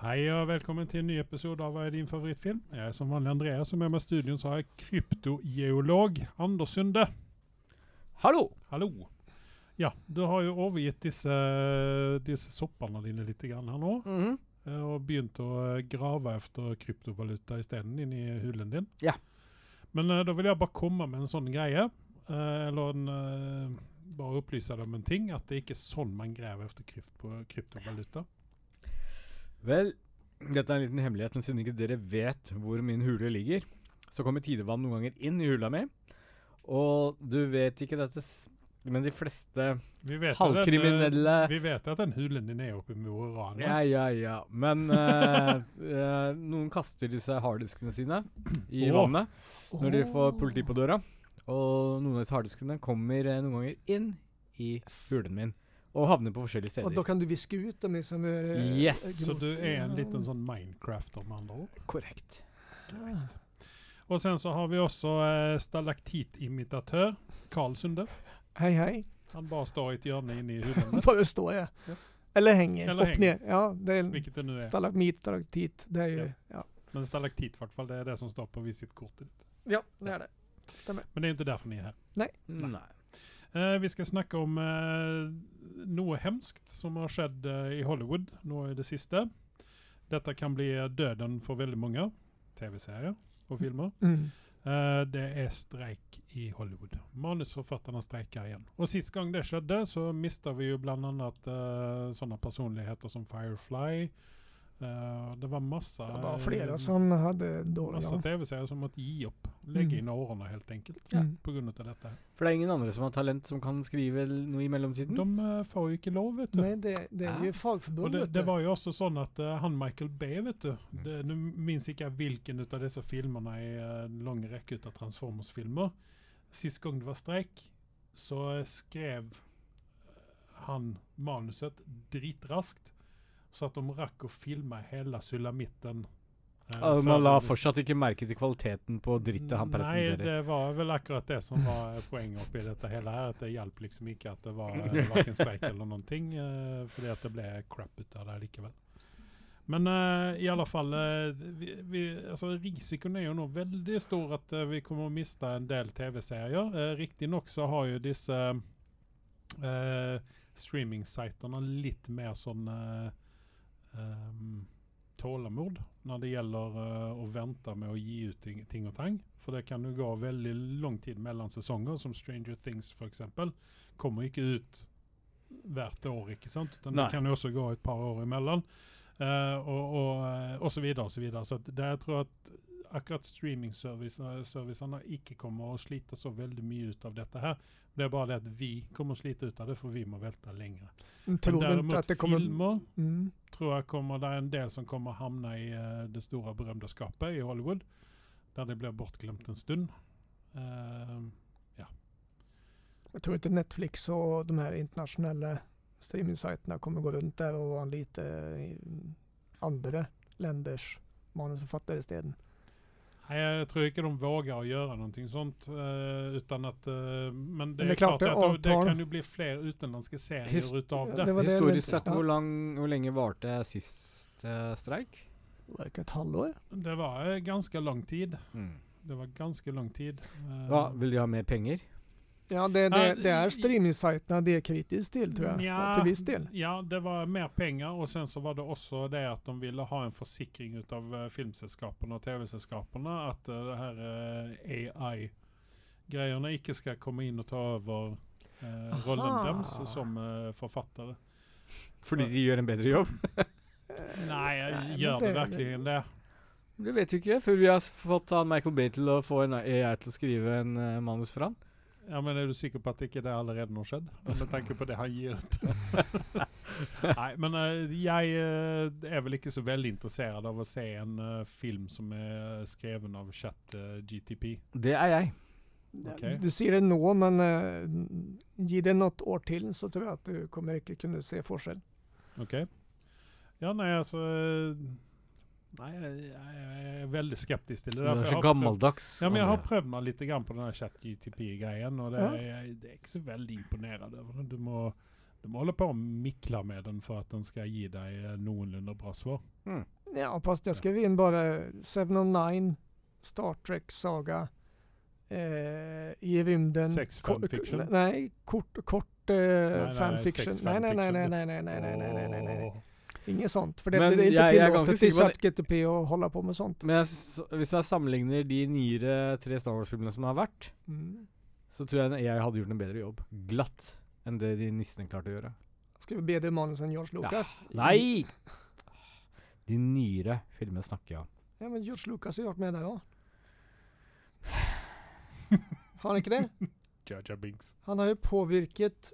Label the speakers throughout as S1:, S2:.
S1: Hei og velkommen til en ny episode av Hva er din favorittfilm? Jeg er som vanlig Andreas, og med meg i studioen så har jeg kryptogeolog Anders Sunde.
S2: Hallo!
S1: Hallo. Ja, du har jo overgitt disse, disse soppene dine litt grann her nå,
S2: Mhm.
S1: eh, og begynt å eh, grave etter kryptovaluta isteden inni hulen din.
S2: Ja.
S1: Men eh, da vil jeg bare komme med en sånn greie, eh, eller en, eh, bare opplyse deg om en ting, at det ikke er sånn man graver etter krypto, kryptovaluta.
S2: Vel, dette er en liten hemmelighet, men siden ikke dere vet hvor min hule ligger, så kommer tidevann noen ganger inn i hula mi. Og du vet ikke dette, s- men de fleste
S1: Vi vet at den, eh,
S2: halvkriminelle
S1: Vi vet at den hulen din er oppe i Mo i Rana.
S2: Ja, ja, ja. Men eh, eh, noen kaster disse harddiskene sine i
S1: Åh.
S2: vannet når de får politi på døra. Og noen av disse harddiskene kommer eh, noen ganger inn i hulen min og havner på forskjellige
S3: Og da
S2: steder.
S3: kan du viske ut dem liksom eh,
S2: Yes.
S3: eh,
S1: Så du er en liten sånn Minecraft om andre ord.
S2: Korrekt.
S1: Og sen så har vi også eh, stalaktitimitatør Karl Sunde.
S3: Hei, hei.
S1: Han bare står i et hjørne inne i hulen, der,
S3: Bare står jeg.
S1: Ja.
S3: Eller henger.
S1: Eller
S3: opp
S1: henger.
S3: ned. Ja, det är
S1: hvilket det nå er.
S3: stalagmit, stalaktit. Det er jo
S1: Ja.
S3: ja.
S1: Men stalaktit, i hvert fall, det er det som står på visittkortet ditt.
S3: ja, det er det. Stemmer.
S1: Men det er jo ikke derfor ni er her.
S2: Nei.
S1: Eh, vi skal snakke om eh, noe hemskt som har skjedd eh, i Hollywood nå i det siste. Dette kan bli døden for veldig mange TV-serier og filmer.
S3: Mm.
S1: Eh, det er streik i Hollywood. Manusforfatterne streiker igjen. Og Sist gang det skjedde, så mista vi jo bl.a. Uh, sånne personligheter som Firefly. Eh, det var masse
S3: Det var
S1: eh,
S3: flere som hadde dårlig
S1: Masse TV-serier som måtte gi opp. Legge
S3: Mm.
S1: inn årene, helt enkelt.
S3: Ja.
S1: På grunn av dette.
S3: Mm.
S1: her.
S2: For det er ingen andre som har talent som kan skrive l- noe i mellomtiden?
S1: De eh, får jo ikke lov, vet du.
S3: Nei, det, det er
S2: Ja.
S3: jo fagforbund,
S1: Og det,
S3: vet
S1: det
S3: du.
S1: var jo også sånn at eh, han Michael Bay, vet du det, Nu minns ikke jeg hvilken ut av disse filmene i eh, en lang rekke ut av Transformers-filmer. Sist gang det var streik, så eh, skrev eh, han manuset dritraskt, så at de rakk å filme hele sulamitten. eh,
S2: Ja,
S1: før
S2: man la
S1: det-
S2: fortsatt ikke merke til kvaliteten på drittet han
S1: Mm, Nei,
S2: presenterer.
S1: det var vel akkurat det som var eh, poenget oppi dette hele her. At det hjalp liksom ikke at det var eh, hverken streik eller noen ting. eh, fordi at det ble crap ut av det likevel. Men eh, i alle fall eh, vi, vi, alltså altså, Risikoen er jo nå veldig stor at eh, vi kommer å miste en del TV-serier. Uh, Riktignok så har jo disse uh, streaming-sitene litt mer sånn eh, ehm, tålamod når det gjelder eh, å vente med å gi ut ting, ting og tang. For det kan jo gå veldig lang tid mellom sesonger, som Stranger Things f.eks. Kommer ikke ut hvert år, ikke sant? Utan
S2: Nei.
S1: det kan jo også gå et par år imellom. Eh, og, og, eh, og så videre og så videre. Så at det, jeg tror at akkurat streamingservicene ikke kommer å slite så veldig mye ut av dette her. Det er bare det at vi kommer å slite ut av det, for vi må vente lenger.
S3: De
S1: Men
S3: tror ikke at det kommer
S1: filmer
S3: mm.
S1: tror jeg kommer, det er en del som kommer havne i eh, det store berømte skapet i Hollywood, der de blir bortglemt en stund. Eh,
S3: Jeg tror ikke Netflix og de her internasjonale streamingsitene kommer gå rundt der og anlite eh, andre landers manusforfattere isteden.
S1: Nei, jeg tror ikke de våger å gjøre noe sånt. eh, utan at, eh, men det
S3: Men det
S1: er,
S3: er klart
S1: klart,
S3: det er
S1: at det,
S3: avtal.
S1: kan jo bli flere utenlandske
S2: His-
S1: serier ut
S3: Ja,
S1: av det.
S3: det var det-
S2: Historisk sett,
S3: ja.
S2: hvor, lang, hvor lenge varte sist eh, streik?
S3: Var det ikke et halvår?
S1: Det var eh, ganske lang tid. Det var ganske lang tid. eh,
S2: Mm. Hva, vil de ha mer penger?
S3: Ja, det, det,
S1: Ja,
S3: det er
S1: i-
S3: streamingsitene det er kritisk til, tror jeg.
S1: Nja,
S3: Til viss del.
S1: Ja, det var mer penger, og sen så var det også det at de ville ha en forsikring ut av eh, filmselskapene og TV-selskapene at eh, det her eh, AI-greiene ikke skal komme inn og ta over eh, rollen
S3: Aha.
S1: deres som eh, forfattere.
S2: Fordi de gjør en bedre jobb?
S1: Nei,
S3: men
S1: gjør Eh, det virkelig det?
S2: Det vet vi ikke, for vi har s- fått han Michael Bay til å få en AI til å skrive en eh, manus for han.
S1: Ja, men Er du sikker på at ikke det allerede har skjedd? Med tanke på det han gir ut. Nei, men eh, jeg eh, er vel ikke så veldig interessert av å se en eh, film som er skreven av chat eh, GTP.
S2: Det er jeg.
S1: Okej.
S3: Eh, Du sier det nå, men eh, gi det noe år til, så tror jeg at du kommer ikke kunne se forskjell.
S1: Ja, alltså, eh, nei, altså Nei, jeg jeg er veldig skeptisk til det.
S2: Du
S1: der,
S2: er
S1: for jeg
S2: så
S1: har prøvd-
S2: gammeldags.
S1: Ja, men jeg har
S2: Andrea.
S1: prøvd meg litt grann på den chat-GTP-greien, og det,
S3: Ja.
S1: er- jeg, det er ikke så veldig imponerende. Du må De håller på att mickla med den för att den ska ge dig eh, någorlunda bra svar.
S3: Ja, fast jag skrev in bara Seven of Nine, Star Trek Saga, eh, I rymden.
S1: Sex
S3: ko-
S1: fanfiction.
S3: ko- Nej, kort, kort eh,
S1: nej,
S3: fanfiction.
S1: sex
S3: Nej, nej, nej,
S1: fanfiction.
S3: nej, nej, nej, nej, nej, nej, nej, nej, nej.
S1: Åh.
S3: Inget sånt. För det,
S4: Men
S3: det är
S4: jag-
S3: inte
S4: jag är ganska
S3: tillåtet till
S4: sikker på
S3: ChatGTP att hålla på med sånt.
S4: Men jeg s- hvis jeg sammenligner de nyere tre Star Wars-filmene som har vært,
S3: Mm.
S4: så tror jeg jeg hadde gjort en bedre jobb. Glatt. Enn det de nissene klarte å gjøre.
S3: Skriver BD manus än George Lucas.
S4: Nei! De nyere filmene snakker jeg om.
S3: Ja, men George Lucas har gjort med det då. Har han inte det?
S1: Jaja Binks.
S3: Han har ju påvirket...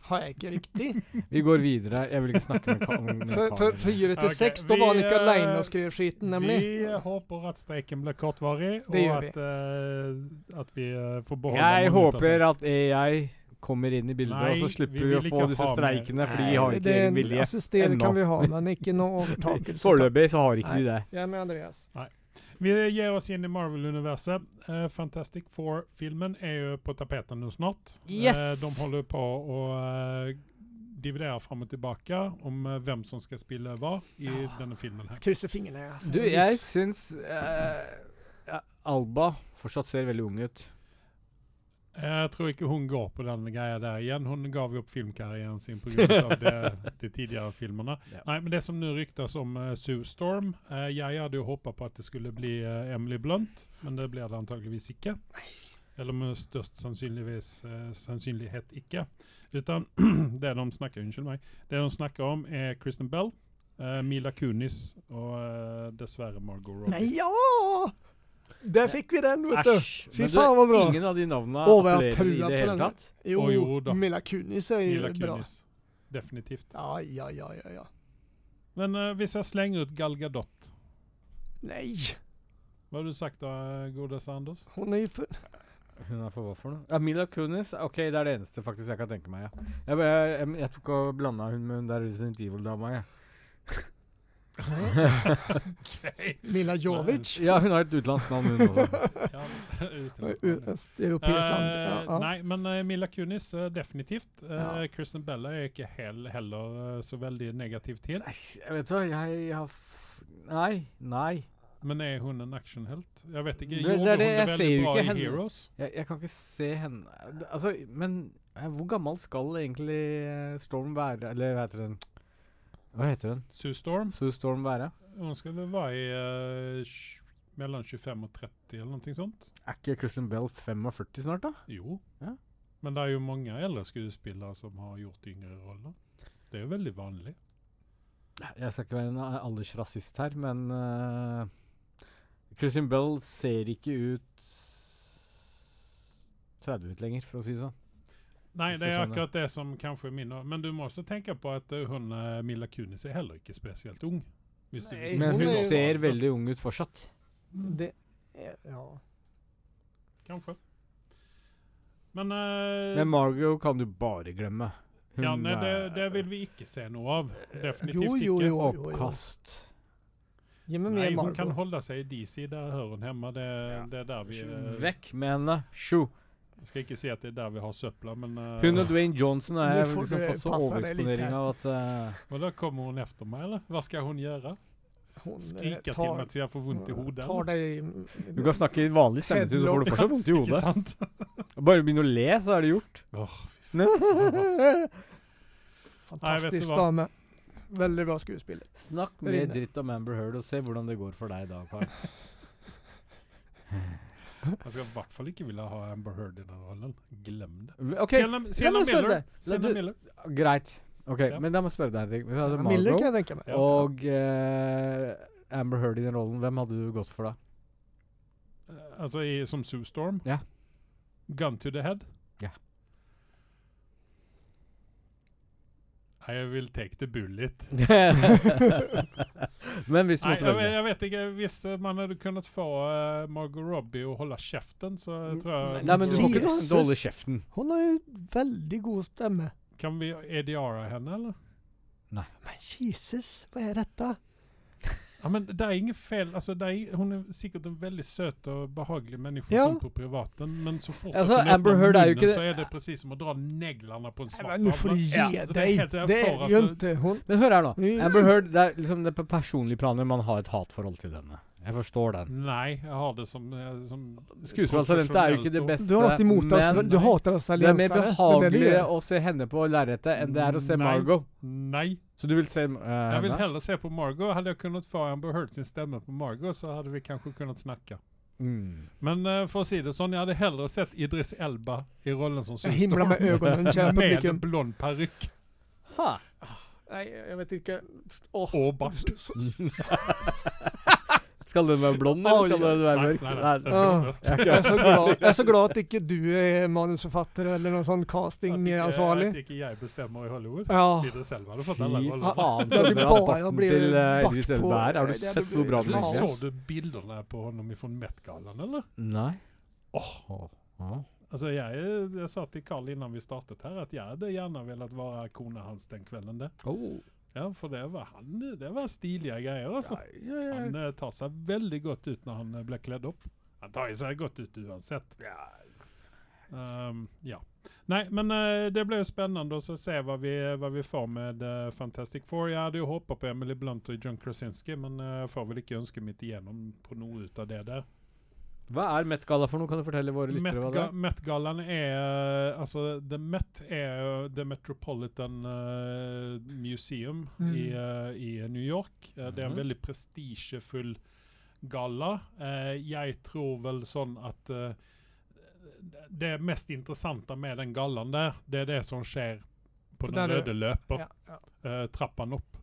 S3: Har jag inte riktigt?
S4: Vi går videre. Jeg vil ikke snakke med, ka om med
S3: För, för
S4: kameraet.
S3: 4 till
S1: Okej,
S3: 6 då
S1: vi,
S3: var Annika
S1: eh,
S3: Leine och skrev skiten nämligen.
S1: Vi eh, håper at streiken blir kortvarig, og
S3: Det gjør
S1: at, eh, at vi eh, får beholde
S4: Jeg
S1: manuta
S4: håper
S1: sin.
S4: at AI kommer inn i bildet,
S1: Nei,
S4: og så slipper
S1: vi
S4: vi, å
S1: vil
S4: få
S1: ikke
S4: disse
S1: ha med-
S4: streikene, for
S1: Nei,
S4: de har
S3: det
S4: ikke
S3: är
S4: egen
S3: en
S4: vilje.
S3: assisterande kan
S4: Ennå.
S3: vi ha, men inte någon övertakelse.
S4: Foreløpig så har ikke
S3: Nei.
S4: de det.
S3: Jag är med Andreas.
S1: Vi gir oss inn i Marvel-universet. Eh, Fantastic Four-filmen er jo på tapeten nå snart.
S4: Yes!
S1: Eh, de holder på å eh, dividere fram och tillbaka om eh, vem som ska spille hva i denne filmen. her.
S3: Kryssa fingrarna ja.
S4: Du, jeg syns eh, ja, Alba fortsatt ser veldig ung ut.
S1: Jeg tror ikke hun går på den greia der igjen. Hun gav jo opp filmkarrieren sin pga. de, de tidligere filmene.
S4: Ja.
S1: Nei, men det som nå ryktes om eh, Sue Storm eh, Jeg hadde jo håpa på at det skulle bli eh, Emily Blunt, men det blir det antageligvis ikke. Eller med størst sannsynligvis, eh, sannsynlighet ikke. Utan det de snakker Unnskyld meg. Det de snakker om, er Kristen Bell, eh, Mila Kunis og eh, dessverre Margot Robbie.
S3: Nej, ja! Där fick vi den vet du.
S4: Æsj!
S3: Fy
S4: Men du,
S3: faen, hva bra.
S4: ingen av de navna
S3: Å, hva jeg
S4: appellerer i
S3: trua
S4: det
S3: på
S4: hele
S3: den.
S4: tatt.
S3: Jo,
S1: Oj, jo då.
S3: Mila Kunis är ju
S1: Mila
S3: bra.
S1: Kunis. Definitivt.
S3: Ja, ja, ja, ja, ja.
S1: Men eh, hvis jeg slenger ut Gal Gadot
S3: Nej,
S1: Hva har du sagt eh, da, godeste Anders?
S3: hon är ju för...
S4: Hun er for hva for noe? Ja, Mila Kunis. Ok, det er det eneste faktisk jeg kan tenke meg. ja. Jeg, jeg, jeg, jeg tok og blanda hun med hun der Resident Evil-dama. jeg.
S3: Mila Jovic.
S4: Ja, hun har et utenlandsk navn, hun også.
S1: Ja, utenlandsnavnet.
S3: Ett europeiskt land. Ja,
S1: Eh,
S3: ja.
S1: Nei, men eh, Mila Kunis eh, definitivt. Eh,
S3: Ja.
S1: Kristen Bella er ikke hel, heller eh, så veldig negativ til.
S4: Nei, jeg vet hva, jeg har f Nei. Nei.
S1: Men er hun en actionhelt? Jeg vet ikke.
S4: Det-
S1: Gjorde
S4: det er det,
S1: hun det
S4: jeg ser
S1: veldig
S4: jo
S1: bra
S4: ikke
S1: i
S4: henne.
S1: Heroes?
S4: Jeg, jeg kan ikke se henne Det- Altså, men eh, hvor gammel skal egentlig eh, Storm være? Eller hva heter hun? Hva heter hun?
S1: Sue Storm?
S4: Sue Storm være?
S1: Hun skal vel være i eh, tj- mellom 25 og 30 eller noe sånt?
S4: Er ikke Kristen Bell 45 snart, da?
S1: Jo.
S4: Ja.
S1: Men det er jo mange eldre skuespillere som har gjort yngre roller. Det er jo veldig vanlig.
S4: Jeg skal ikke være en a- aldersrasist her, men uh, Christian Bell ser ikke ut s- 30 ut lenger, for å si det sånn.
S1: Nei, det er
S4: sesongen.
S1: akkurat det som kanskje er min Men du må også tenke på at eh, hun eh, Mila Kunis er heller ikke spesielt ung. Hvis du
S3: Nei,
S1: hvis du
S4: Men
S3: Hun
S1: vil
S4: hun
S3: er jo-
S1: ha
S4: ser
S1: det,
S4: veldig ung ut fortsatt.
S3: Det är, ja.
S1: Kanskje. Men, eh,
S4: Men eh, Margot kan du bare glemme.
S1: ja, nei, det,
S4: er
S1: det vil vi ikke se noe av.
S4: Eh,
S1: Definitivt
S3: Jo, jo,
S1: ikke.
S3: jo, jo, jo.
S4: oppkast.
S3: Ge mig
S1: Nei,
S3: mer
S1: hun kan
S3: Margot.
S1: holde seg i DC, der hører hun hjemme. Det, det er der vi eh,
S4: Vekk med henne. Sju.
S1: Jeg skal ikke si at det er der vi har søpla, men eh,
S4: Hun og Dwayne Johnson har
S3: Nå
S4: jeg
S3: får
S4: liksom
S3: du
S4: fått så
S3: passe deg litt
S4: overeksponering
S3: her.
S4: av at eh,
S1: Og da kommer hun etter meg, eller? Hva skal hun gjøre?
S3: Hon, eh,
S1: Skrike til
S3: tar-
S1: meg til jeg får vondt i hodet?
S3: Mm. Tar
S1: eller?
S3: dig...
S4: Du kan snakke i vanlig stemme til, så får du fortsatt vondt i
S1: Ikke
S4: hodet.
S1: sant?
S4: Bare begynn å le, så er det gjort.
S1: Åh, Nej, vet
S3: Fantastisk
S1: du vad?
S3: dame. Väldigt bra skådespelare.
S4: Snakk
S3: Der
S4: mer
S3: inne.
S4: dritt om Amber Heard og se hvordan det går for deg da, Karl.
S1: jeg skal i hvert fall ikke ville ha Amber Heard i den rollen. Glem det.
S4: V- OK,
S1: Sienna, Sienna
S4: men spør
S1: Miller.
S4: det. La
S1: Sienna
S4: du-
S1: Miller.
S4: greit. Ok,
S1: Ja.
S4: Men da må jeg spørre deg en ting. Vi hadde
S3: Miller kan
S4: Margot
S3: jag tänka mig.
S1: Ja.
S4: og eh, Amber Heard i den rollen. Hvem hadde du gått for da?
S1: Eh, Altså i, som Sue Storm.
S4: Ja.
S1: Gun to the head.
S4: Ja.
S1: I will take the bullet.
S4: men hvis du
S1: Nei,
S4: måtte
S1: jeg,
S4: velge
S1: jeg vet ikke. Hvis eh, man hadde kunnet få eh, Margot Robbie å holde kjeften, så tror jeg
S4: Nei, Mm. men du må ikke
S3: Jesus.
S4: du holder kjeften.
S3: Hon har ju väldigt god stämma.
S1: Kan vi ADR-a henne, eller?
S3: Men Jesus, vad är detta?
S1: Ja, men det är inget fel. Alltså, det är, hon är säkert en väldigt söt och behaglig människa
S3: Ja.
S1: som på privaten. Men så fort
S4: Alltså,
S1: att hon
S4: Amber
S1: öppnar
S4: Heard är ju
S1: munnen
S4: inte-
S1: så är det precis som att dra neglarna på en svart
S3: Men nu får du
S1: tavla.
S3: ge
S4: Ja,
S1: alltså, det är
S3: deg!
S1: helt- jeg
S3: Det
S1: får alltså-
S3: er jo
S1: altså-
S3: ikke hun.
S4: Men hør her nå.
S3: Mm.
S4: Amber Heard, det er liksom det er på personlige planer man har et hatforhold til henne. Jeg forstår den.
S1: Nej, jag har det som... eh, som
S4: Skuespillertalentet er jo ikke det
S1: professionellt
S4: beste,
S3: Du har alltid mot oss,
S4: men
S3: du hater oss
S4: det er mer
S3: alliansere, men det er
S4: behagelig
S3: det.
S4: å se henne på lerretet enn det er å se
S1: Nei.
S4: Margot.
S1: och- Nej,
S4: Så du vil se eh,
S1: jag vill
S4: henne?
S1: hellre se på Margot. Hade jag kunnat få Amber Heard sin stämma på Margot så hade vi kanske kunnat snacka.
S4: Mm.
S1: Men eh, för att säga det så, jag hade hellre sett Idris Elba i rollen som
S3: Jag
S1: Sue
S3: himlar med ögonen, kära
S1: med
S3: publiken.
S1: blond peruk
S4: Ha.
S3: Nej, jag vet inte. Åh.
S1: och bast.
S4: Skal den være blond, eller skal den være
S1: Nej,
S4: mørk?
S1: nej, nej. det ska
S3: Ah.
S1: vara mörkt.
S4: Ja,
S3: Jag är, så glad, jag är så glad att inte du är manusförfattare eller någon sån
S1: Att icke- Att
S3: castingansvarig.
S1: icke jag bestämmer i Hollywood.
S3: Ja.
S1: Idris Elba hade fått alla
S4: Fy alltså,
S1: roller.
S4: faen,
S3: Ja,
S4: så
S3: det blir
S4: bra
S3: bare-
S4: barten
S3: blir
S4: til eh,
S3: bart
S4: Idris
S3: på-
S4: Elba er. Har du
S3: det
S4: sett
S3: blir
S4: hvor bra den
S3: klart.
S4: ligger?
S1: Såg du bilderna på honom ifrån Met-galan eller?
S4: Nei.
S1: Alltså jag, är- jag sa till Carl innan vi startat här att jag hade gärna velat vara kona hans den kvällen där.
S4: Oh.
S1: Ja, för det var han, det var stiliga grejer alltså.
S4: Ja, ja, ja.
S1: Han eh, tar sig väldigt gott ut när han eh, blir klädd upp. Han tar ju sig gott ut oavsett. Ehm, ja. Nej, men eh, det blir ju spännande att så se vad vi, vad vi får med eh, Fantastic Four. Jag hade ju hoppat på Emily Blunt och John Krasinski, men eh, jag får väl inte önska mitt igenom på något utav det där.
S4: Hva er Met-gala for noe? Kan du fortelle våre lyttere hva det
S1: Met-ga-
S4: er?
S1: Met-galan är, eh, alltså The Met är eh, The Metropolitan eh, Museum
S3: Mm.
S1: i, eh, i New York. Eh, Det är en
S4: Mhm.
S1: väldigt prestigefull galla. Eh, jag tror väl sån att eh, det mest intressanta med den gallan där, det är det som sker på,
S3: På
S1: den
S3: där-
S1: röda löper
S3: Ja, ja.
S1: eh, trappan upp.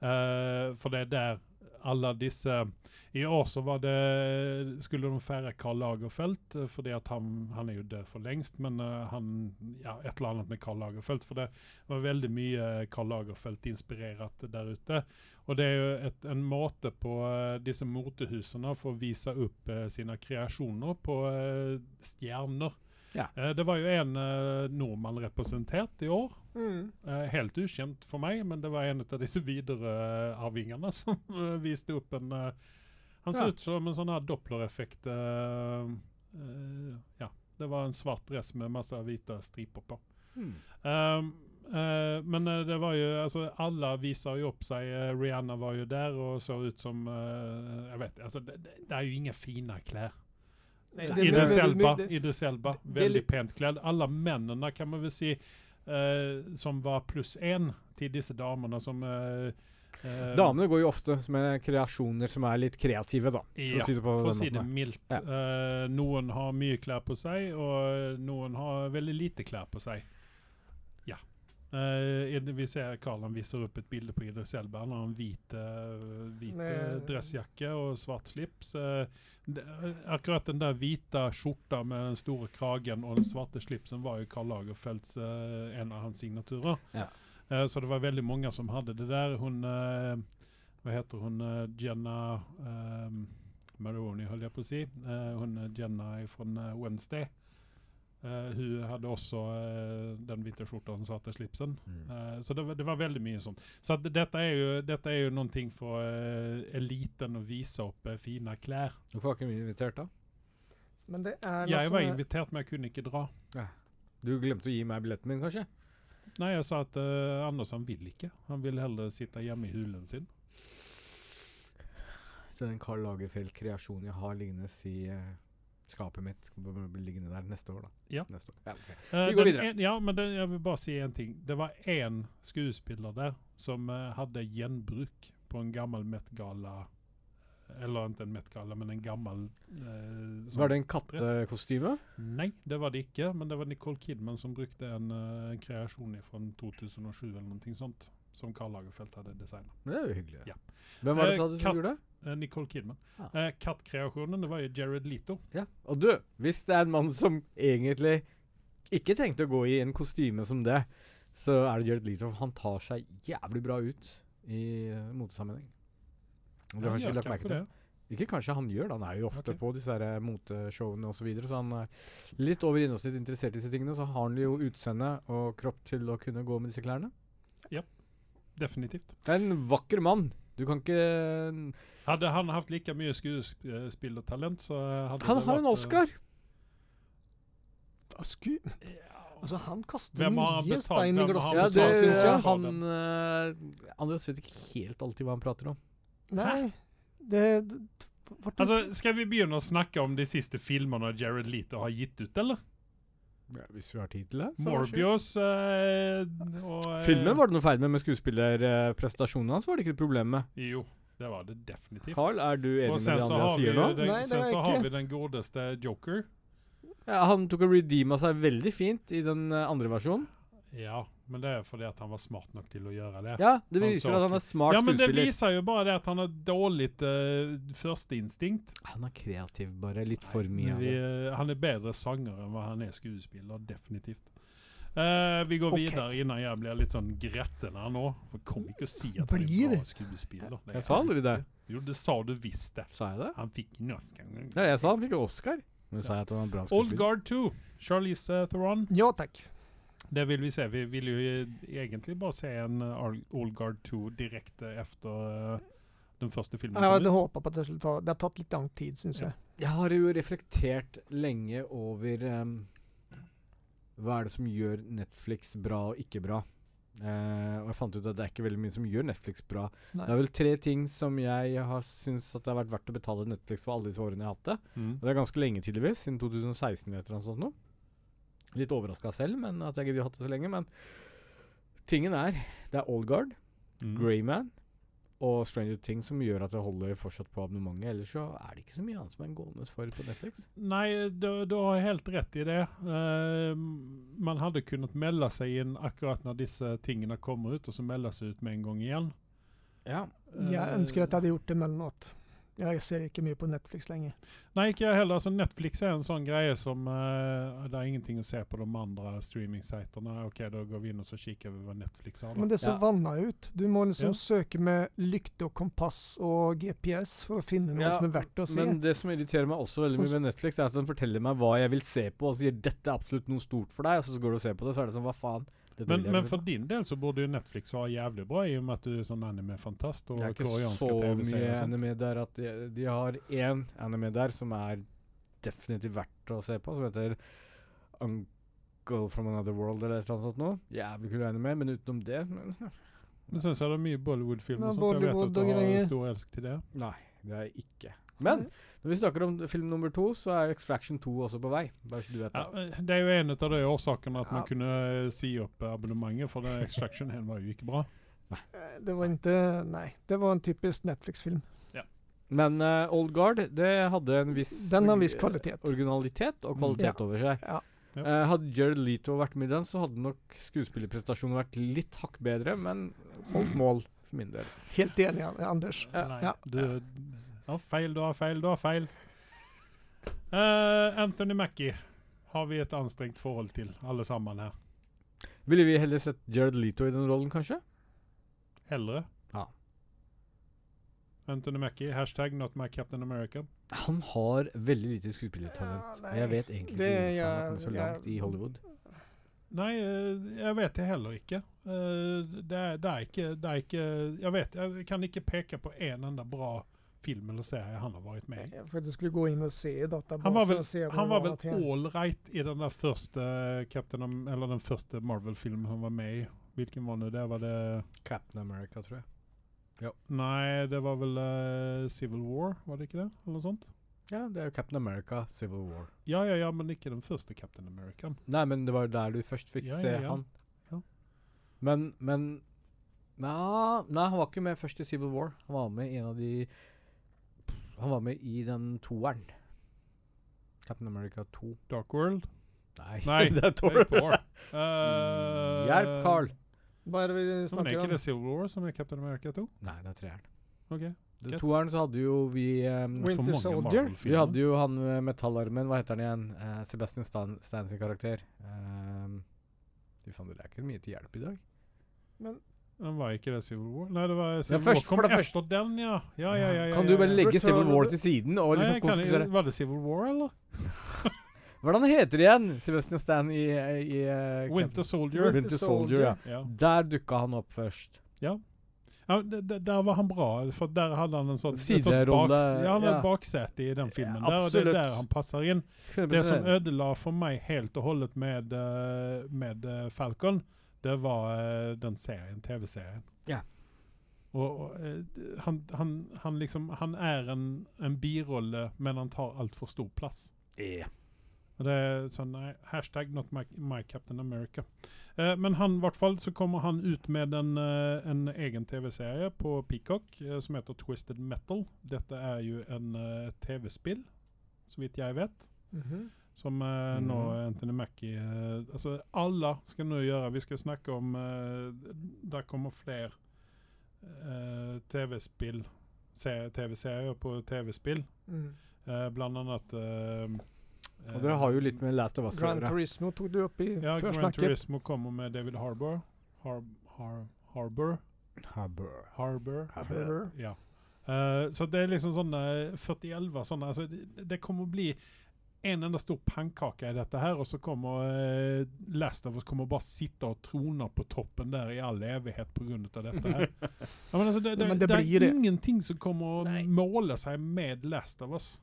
S1: Eh, för det är där alla dessa... I år så var det, skulle de fära Karl Lagerfeld eh, för det att han, han är ju död för längst men eh, han, ja ett eller annat med Karl Lagerfeld för det var väldigt mycket eh, Karl Lagerfeld inspirerat där ute. Och det är ju ett, en måte på eh, dessa motehusen för att visa upp eh, sina kreationer på eh, stjärnor.
S4: Ja.
S1: Eh, det var ju en eh, norrman representerat i år
S3: Mm.
S1: Eh, helt okänt för mig, men det var en av dessa vidare eh, arvingarna som eh, visste upp en... eh, han såg
S4: Ja.
S1: ut som en sån här dopplereffekt. eh, eh, ja, det var en svart dress med massa vita stripor på.
S4: Mm.
S1: Ehm, eh, men eh, det var ju, alltså alla visar ju upp sig. Eh, Rihanna var ju där och såg ut som, eh, jag vet alltså det, det, det är ju inga fina kläder.
S3: Nej,
S1: Det
S3: det
S1: Idris
S3: blir-
S1: Elba,
S3: det-
S1: Idris Elba
S3: det- det är
S1: väldigt pent klädd. Alla männen där kan man väl se eh, som var plus en till dessa damerna som... Eh, eh,
S4: Damene går jo ofte med kreasjoner som er litt kreative, da.
S1: Ja,
S4: si det på
S1: For å
S4: den
S1: si det
S4: måten.
S1: mildt.
S4: Ja.
S1: Eh, noen har mye klær på seg, og noen har veldig lite klær på seg. Ja. Eh, Id- vi ser Karl han viser opp et bilde på Idris Elba. Han har en hvit, eh, hvit eh,
S3: Med-
S1: dressjakke og svart slips. Eh, d- akkurat den der hvite skjorta med den store kragen og den svarte slipsen var jo Karl Lagerfelds eh, en av hans signaturer.
S4: Ja.
S1: Eh, så det var veldig mange som hadde det der. Hun eh, Vad heter hon? eh, Jenna um, Maroney höll jag på att säga. Eh, hon eh, Jenna från eh, Wednesday. Eh, hon hade också eh, den vita skjortan och den svarta slipsen.
S4: Mm.
S1: Eh, Så det var, det var väldigt mycket sånt. Så att detta, är ju, detta är ju någonting för eh, eliten att visa upp eh, fina kläder.
S4: Hvorfor var ikke vi invitert, da?
S3: Men det är
S1: Jag
S4: alltså
S3: något
S1: var
S3: som är-
S1: inviterad men jag kunde inte dra.
S4: Du glemte å gi meg billetten min, kanskje?
S1: Nej, jag sa att eh, Anders han vill inte. Han vill hellre sitta hemma i hulen sin.
S4: Så den Karl Lagerfeld-kreasjonen jeg har liggende i eh, skapet mitt, b- b- blir liggende der neste år, da.
S1: Ja.
S4: Neste år. Ja, ok.
S1: Eh,
S4: Vi går
S1: den
S4: videre.
S1: En, ja, men den, jag vill bara säga en ting. Det var en skuespelare där som eh, hade genbruk på en gammal Met-gala. Eller inte en Met-gala, men en gammal... Eh, som-
S4: Var det en kattekostyme?
S1: Nej, det var det inte. Men det var Nicole Kidman som brukade en, eh, en kreation från 2007 eller någonting sånt. Som Karl Lagerfeld hade designat.
S4: Men Det er jo hyggelig.
S1: Ja.
S4: Hvem var det
S1: Eh,
S4: sa du
S1: katt-
S4: som gjorde det?
S1: Eh, Nicole Kidman.
S4: Ah.
S1: Eh, kattkreationen, det var ju Jared Leto.
S4: Ja. Og du, hvis det er en mann som egentlig ikke tenkte å gå i en kostyme som det, så er det Jared Leto. Han tar seg jævlig bra ut i eh, motesammenheng. Du har
S1: Han
S4: kanskje
S1: gör
S4: ikke lagt merke
S1: kanske
S4: til det? Ikke kanskje han gjør, det, han er jo ofte
S1: Ok.
S4: på disse her, eh, moteshowene osv. Så, videre, så han er litt over gjennomsnitt interessert i disse tingene. Så har han jo utseende og kropp til å kunne gå med disse klærne.
S1: Definitivt.
S4: Det er en vakker mann
S2: Du kan ikke eh,
S1: Hadde han hatt like mye skuespillertalent, så hadde
S4: Han
S1: det
S4: har
S1: vært,
S4: en
S1: eh,
S4: Oscar!
S3: Ah, Sku... Altså, han kaster
S1: Hvem har han
S3: mye
S1: betalt?
S3: stein i
S1: Hvem har han
S3: glasset.
S4: Ja,
S1: betalt,
S4: det,
S1: synes jeg.
S4: han eh, Andreas vet ikke helt alltid hva han prater om.
S3: Nei, det Var det
S1: Altså, Skal Alltså, vi begynne å snakke om de siste filmene Jared Leto har gitt ut, eller?
S2: Hvis du har tid til det.
S1: Morbius eh, og eh,
S2: Filmen var det noe feil med, men skuespillerprestasjonen hans var det ikke et problem med.
S1: Jo, det var det definitivt.
S2: Carl, er du enig
S1: Og
S2: med
S1: sen
S2: det
S1: så
S2: Andreas
S1: har vi,
S2: sier nå?
S1: jo den,
S3: Nei, det
S1: sen
S3: var
S1: så
S3: jeg
S1: har
S3: ikke.
S1: vi den godeste Joker.
S2: Ja, han tok og redeema seg veldig fint i den eh, andre versjonen.
S1: Ja, men det er fordi at han var smart nok til å gjøre det.
S2: Ja, det
S1: Han
S2: viser
S1: så
S2: at han er smart
S1: Ja, men det
S2: skuespiller.
S1: viser jo bare det at han har dårlig eh, førsteinstinkt.
S4: Han er kreativ, bare. Litt for mye.
S1: Men
S4: av
S1: vi,
S4: det.
S1: eh, han er bedre sanger enn hva han er skuespiller, definitivt. Eh, vi
S3: Ok.
S1: går videre innan jeg blir litt sånn gretten her nå. For kom ikke og si at han
S3: Blir
S1: er
S3: det?
S1: bra skuespiller. Det er
S2: Jeg sa
S1: han
S2: aldri det.
S1: ikke. Jo, det sa du visst det.
S2: Sa jeg det?
S1: Han fikk en Oscar.
S2: Ja, jeg sa han fikk Oscar. Men sa jeg at han var en bra
S1: Old
S2: skuespiller?
S1: Guard 2, Charlize eh, Theron.
S3: Ja takk.
S1: Det vil vi se. Vi vil jo i- egentlig bare se en eh, Ar- Old Guard 2 direkte etter eh, den første filmen.
S3: Jeg
S1: kom
S3: hadde
S1: ut.
S3: håpa på at det skulle ta Det har tatt litt lang tid, syns
S1: Mm. Ja.
S3: jeg.
S4: Jeg har jo reflektert lenge over em, hva er det som gjør Netflix bra og ikke bra. Eh, og jeg fant ut at det er ikke veldig mye som gjør Netflix bra.
S3: Nei.
S4: Det er vel tre ting som jeg har syntes at det har vært verdt å betale Netflix for alle disse årene jeg har hatt det.
S1: Mm.
S4: Og det er ganske lenge, tydeligvis. Siden 2016 eller et eller annet sånt noe. Litt overraska selv, men at jeg gidder å ha hatt det så lenge. Men tingen er, det er Old Guard,
S1: Mm.
S4: Greyman og Stranger Things som gjør at det holder fortsatt på abonnementet. Ellers så er det ikke så mye annet som er en gående for på Netflix.
S1: Nei, du, du har helt rett i det. Eh, man hadde kunnet melde seg inn akkurat når disse tingene kommer ut, og så melde seg ut med en gang igjen.
S4: Ja.
S1: Eh.
S3: Jeg ønsker at jeg hadde gjort det mellomnatt. Jeg ser ikke mye på Netflix lenger.
S1: Nei, ikke jeg heller. Altså, Netflix er en sånn greie som eh, Det er ingenting å se på de andre streamingsitene. OK, da går vi inn og så kikker vi hva Netflix har.
S3: Men
S1: Da.
S3: det er så
S4: Ja.
S3: vanna ut. Du må liksom
S1: Ja.
S3: søke med lykte og kompass og GPS for å finne noe
S4: Ja,
S3: som er verdt å se.
S4: Men det som irriterer meg også veldig mye med Netflix, er at den forteller meg hva jeg vil se på, og sier 'dette er absolutt noe stort for deg', og så går du og ser på det, så er det sånn 'hva faen'? Dette
S1: Men,
S4: vil jeg
S1: men
S4: ikke
S1: for
S4: se på».
S1: din del så burde jo Netflix være jævlig bra, i og med at du er sånn anime-fantast. Og
S4: det er ikke
S1: koreanske
S4: så mye
S1: TV-serier og sånt.
S4: anime der at de, de har én anime der som er definitivt verdt å se på, som heter Uncle from Another World eller et eller annet sånt noe. Jævlig kul anime, men utenom det men,
S1: Men sen så er det mye Bollywood-filmer
S3: Ja,
S1: og sånt. Jeg vet
S3: Bollywood
S1: at du
S3: og
S1: har
S3: greier.
S1: en stor elsk til det.
S4: Nei, det er ikke. Men
S3: Mm.
S4: når vi snakker om film nummer to, så er Extraction 2 også på vei. Bare så du vet det.
S1: Ja, eh, det er jo en av de årsakene at man eh,
S3: Ja.
S1: kunne si opp abonnementet, for den Extraction her var jo ikke bra.
S3: Eh, Det var ikke Nei. Det var en typisk Netflix-film.
S4: Men eh, Old Guard det hadde en viss
S3: Den har en viss kvalitet.
S4: originalitet og kvalitet
S3: Ja.
S4: over seg.
S3: Ja.
S1: Ja.
S4: Eh, hadde Jared Leto vært med i den, så hadde nok skuespillerprestasjonen vært litt hakk bedre, men holdt mål for min del.
S3: Helt enig, An- Anders.
S1: Nei,
S3: ja.
S1: du har feil, du har feil, du har feil. Eh, Anthony Mackie har vi et anstrengt forhold til, alle sammen her.
S4: Ville vi heller sett Jared Leto i den rollen, kanskje?
S1: Hellre.
S4: Ja.
S1: Anthony Mackie, hashtag not my Captain America.
S4: Han har veldig lite
S3: Ja,
S4: skuespillertalent. og
S3: nei,
S4: jeg vet egentlig ikke
S3: det
S4: hvorfor han har
S3: jeg-
S4: kommet så
S3: jeg-
S4: langt i Hollywood.
S1: Nei, eh, jeg vet det heller ikke. Eh, det, er, det, er ikke det er ikke Jeg vet, jeg kan ikke peke på én en enda bra film eller serie han har vært med i.
S3: Jeg faktisk skulle gå inn og se i
S1: Han var vel-
S3: databasen og se
S1: Han var
S3: til.
S1: vel all right i den der første Captain Am Eller den første Marvel-filmen han var med i. Hvilken var nå det? Var det
S4: Captain America, tror jeg.
S1: Nei, det var vel eh, Civil War, var det ikke det? Eller noe sånt?
S4: Ja, det er jo Captain America Civil War.
S1: Ja, ja, ja, men ikke den første Captain American.
S4: Nei, men det var jo der du først fikk
S1: Ja, ja,
S4: se
S1: ja.
S4: han.
S1: Ja.
S4: Men, men Nei, nei, han var ikke med først i Civil War. Han var med i en av de Han var med i den toeren. Captain America 2.
S1: Dark World?
S4: Nei,
S1: Nei,
S4: det er
S1: Nei,
S4: Thor.
S1: Thor. Eh,
S4: Hjelp, Carl.
S3: Hva er det vi
S1: Men er
S3: snakker
S1: ikke
S3: om?
S1: det Civil War som er Captain America 2?
S4: Nei, det er treeren.
S1: Ok.
S4: Den
S1: Greit.
S4: toeren så hadde jo vi um,
S3: Winter
S1: For mange
S3: Soldier?
S1: Marvel-filmer.
S4: Vi hadde jo han med metallarmen, hva heter han igjen? Eh, Sebastian Stan, Stan sin karakter. Um, Fy faen, det er ikke mye til hjelp i dag.
S1: Den var ikke det Civil War? Nei, det var Civil
S4: først-
S1: War.
S4: for
S1: Kom
S4: det
S1: etter den, ja. Ja, ja, ja, ja
S4: kan du
S1: ja,
S4: bare
S1: ja.
S4: legge
S3: Return
S4: Civil
S3: of
S4: War
S3: the-
S4: til siden og
S1: Nei,
S4: liksom
S1: jeg kan-
S4: konsentrere
S1: Var det Civil War, eller?
S4: Hvordan heter det igjen? Sebastian Stan i, eh, i eh,
S1: Winter
S4: Captain-
S1: Soldier.
S4: Winter Soldier, ja.
S1: Ja.
S4: Der dukka han opp først.
S1: ja. Ja, d- d- där var han bra, för där hade han en sån... ett sånt
S4: Sidorulle,
S1: baks- Ja, han hade
S4: ja.
S1: ett baksäte i den filmen.
S4: Ja,
S1: där, och det är
S4: absolut.
S1: där han passar in. Det som
S4: 100%.
S1: ödelade för mig helt och hållet med, eh, med eh, Falcon, det var eh, den serien, tv-serien.
S4: Ja.
S1: Och, och, eh, d- han, han, han, liksom, han är en, en birolle, men han tar allt för stor plats.
S4: Ja.
S1: Och Det är sån, nej, hashtag not my, my Captain America. Eh, men han, i vart fall så kommer han ut med en, eh, en egen tv-serie på Peacock eh, som heter Twisted Metal. Detta är ju en eh, tv-spill, så vitt jag vet.
S3: Mhm.
S1: Som eh,
S2: Mm.
S1: nå Anthony Mackie. Eh, alltså alla ska nu göra. Vi ska snacka om, eh, där kommer fler eh, tv-spel, se- tv-serier på tv-spel.
S3: Mm.
S1: Eh, bland annat... Eh,
S4: Og det har jo litt med Last of Us å
S3: Gran
S4: gjøre.
S3: Turismo tog du upp i
S1: Ja, Gran
S3: försnacket.
S1: Turismo kommer med David Harbour. Har, har, Harbour?
S4: Harbor.
S1: Harbour?
S3: Harbor.
S1: Ja. Eh, så det är liksom sådana 41 sådana. Alltså det, det kommer bli en enda stor pannkaka i detta här och så kommer uh, Last of Us kommer bara sitta och trona på toppen där i all evighet på grund av detta här. ja, men alltså det, det,
S3: Men det
S1: det
S3: blir ju
S1: är
S3: det.
S1: ingenting som kommer att
S3: Nej.
S1: måla sig med Last of Us.